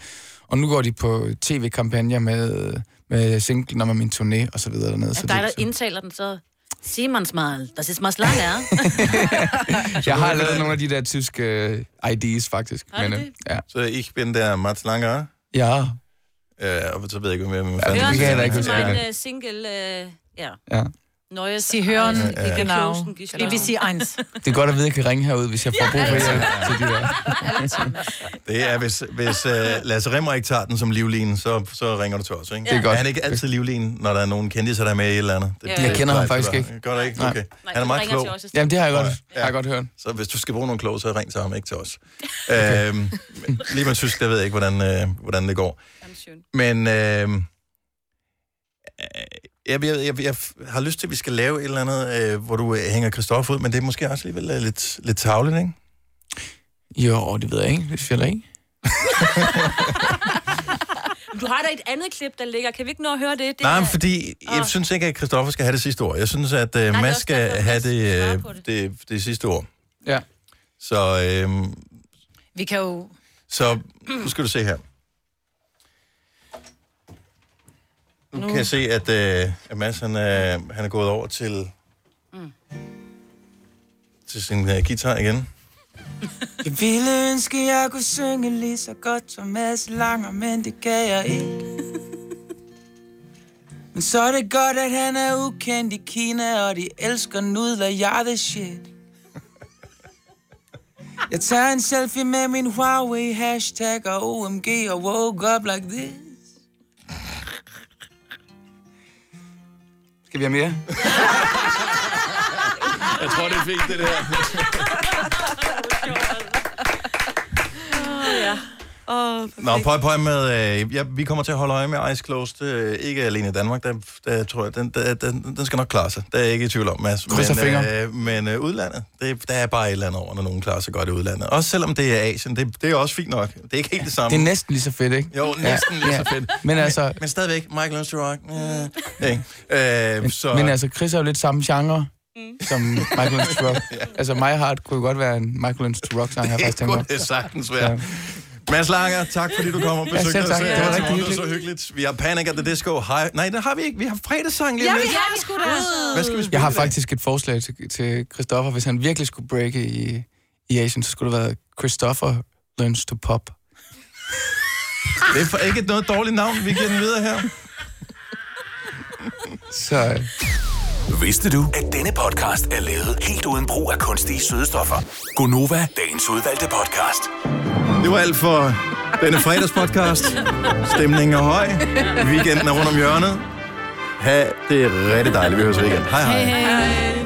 [SPEAKER 3] og nu går de på tv-kampagner med, med singlen og med min turné og så videre dernede.
[SPEAKER 4] Er
[SPEAKER 3] Så
[SPEAKER 4] dig, der
[SPEAKER 3] det,
[SPEAKER 4] indtaler den, så... Simons mal, das ist Mads Langer.
[SPEAKER 3] jeg har lavet nogle af de der tyske øh, IDs faktisk.
[SPEAKER 4] Har du
[SPEAKER 3] øh,
[SPEAKER 4] det?
[SPEAKER 3] ja.
[SPEAKER 1] Så ich bin der Mats Langer.
[SPEAKER 3] Ja.
[SPEAKER 1] Øh, og så ved jeg ikke, hvad mere.
[SPEAKER 4] Høren
[SPEAKER 1] Ja,
[SPEAKER 4] til Mein øh, single, øh, ja.
[SPEAKER 3] Ja.
[SPEAKER 4] Neues.
[SPEAKER 5] Sie hören,
[SPEAKER 1] Ja, ja, ja.
[SPEAKER 5] genau.
[SPEAKER 4] Klosen,
[SPEAKER 5] Vi vil sige eins.
[SPEAKER 3] Det er godt at vide, at jeg kan ringe herud, hvis jeg får brug for
[SPEAKER 4] altså.
[SPEAKER 1] Ja.
[SPEAKER 3] hjælp til de der.
[SPEAKER 1] Det er, hvis, hvis uh, Lasse Rimmer ikke tager den som livlinen, så, så ringer du til os, ikke?
[SPEAKER 3] Det er godt.
[SPEAKER 1] Er han ikke altid livlinen, når der er nogen kendiser, der er med i et eller andet?
[SPEAKER 3] Ja. Jeg kender ham faktisk
[SPEAKER 1] plejer-
[SPEAKER 3] ikke.
[SPEAKER 1] Gør du ikke?
[SPEAKER 3] Nej.
[SPEAKER 1] Okay.
[SPEAKER 3] Nej,
[SPEAKER 1] han er
[SPEAKER 3] du
[SPEAKER 1] meget
[SPEAKER 3] ringer
[SPEAKER 1] klog.
[SPEAKER 3] til os i stedet. Jamen, det har jeg godt- har jeg godt hørt.
[SPEAKER 1] Så hvis du skal bruge nogle kloge, så ring til ham, ikke til os. øhm, men lige med tysk, der ved jeg ikke, hvordan, øhm, øh, hvordan det går. Men øh, øh, Jeg, jeg, jeg, jeg har lyst til, at vi skal lave et eller andet, øh, hvor du øh, hænger Christoffer ud, men det er måske også alligevel øh, lidt, lidt tavligt, ikke?
[SPEAKER 3] Jo, det ved jeg ikke. Det synes jeg da ikke.
[SPEAKER 4] Du har da et andet klip, der ligger. Kan vi ikke nå at høre det? det
[SPEAKER 1] Nej,
[SPEAKER 4] er...
[SPEAKER 1] men fordi jeg
[SPEAKER 4] Åh.
[SPEAKER 1] synes ikke, at Christoffer skal have det sidste ord. Jeg synes, at
[SPEAKER 4] Ah. det
[SPEAKER 1] øh,
[SPEAKER 4] er
[SPEAKER 1] Mads
[SPEAKER 4] også
[SPEAKER 1] skal
[SPEAKER 4] derfor,
[SPEAKER 1] have
[SPEAKER 4] Mads
[SPEAKER 1] det,
[SPEAKER 4] svarer
[SPEAKER 1] øh,
[SPEAKER 4] på det.
[SPEAKER 1] det, det sidste ord.
[SPEAKER 3] Ja.
[SPEAKER 1] Så, øh,
[SPEAKER 23] Vi kan jo...
[SPEAKER 1] så nu skal du se her. Nu,
[SPEAKER 23] Nu.
[SPEAKER 1] kan jeg se, at, øh, at Mads han, øh, han er gået over til,
[SPEAKER 18] Mm.
[SPEAKER 1] til sin øh, guitar igen.
[SPEAKER 18] Jeg ville ønske, jeg kunne synge lige så godt som Mads Langer, men det kan jeg ikke. Men så er det godt, at han er ukendt i Kina, og de elsker nudler, jeg er the shit. Jeg tager en selfie med min Huawei hashtag og OMG og woke up like this.
[SPEAKER 3] Skal vi have mere?
[SPEAKER 1] Jeg tror, det er fint, det der.
[SPEAKER 4] Åh, ja. Åh,
[SPEAKER 1] Nå, prøv, prøv med, øh, ja, vi kommer til at holde øje med Ice Closed, øh, ikke alene i Danmark, der, der tror jeg, den, der, den, den skal nok klare sig, der er jeg ikke i tvivl om, Mads.
[SPEAKER 3] Krydser
[SPEAKER 1] men
[SPEAKER 3] fingre.
[SPEAKER 1] øh, men øh, udlandet, det, der er bare et eller andet over, når nogen klarer sig godt i udlandet. Også selvom det er Asien, det, det er også fint nok, det er ikke helt det samme.
[SPEAKER 3] Det er næsten lige så fedt, ikke?
[SPEAKER 1] Jo, næsten lige så fedt.
[SPEAKER 3] Men altså,
[SPEAKER 1] Men stadigvæk, Michael Ernst Rock. Øh, øh, så,
[SPEAKER 3] men altså, Chris er jo lidt samme genre som Michael Lynch to Rock. Altså, My Heart kunne jo godt være en Michael Lynch to Rock-sang, har jeg faktisk
[SPEAKER 1] det
[SPEAKER 3] tænkt
[SPEAKER 1] kunne
[SPEAKER 3] mig.
[SPEAKER 1] det sagtens være. Mads Langer, tak fordi du kom og
[SPEAKER 3] Ja,
[SPEAKER 1] besøgte
[SPEAKER 3] selv
[SPEAKER 1] os.
[SPEAKER 3] tak.
[SPEAKER 1] her
[SPEAKER 3] Det var
[SPEAKER 1] til
[SPEAKER 3] rigtig
[SPEAKER 1] morgen. Det var så hyggeligt. Vi har Panic at the Disco. Hej. Nej, det har vi ikke. Vi har fredagssang lige
[SPEAKER 18] Ja,
[SPEAKER 1] om
[SPEAKER 18] vi
[SPEAKER 1] lidt.
[SPEAKER 18] har sgu da.
[SPEAKER 1] Hvad skal vi spille
[SPEAKER 3] Jeg har
[SPEAKER 1] i dag?
[SPEAKER 3] faktisk et forslag til, til Christoffer. Hvis han virkelig skulle breake i, i Asien, så skulle det være Christoffer Learns to Pop.
[SPEAKER 1] Det er for ikke noget dårligt navn. Vi giver den videre her.
[SPEAKER 3] Så... øh,
[SPEAKER 17] Vidste du, at denne podcast er lavet helt uden brug af kunstige sødestoffer? Gonova, dagens udvalgte podcast.
[SPEAKER 1] Det var alt for denne fredagspodcast. Stemningen er høj. Weekenden er rundt om hjørnet. Ha' det rigtig dejligt. Vi høres ved igen. Hej hej.
[SPEAKER 18] hej.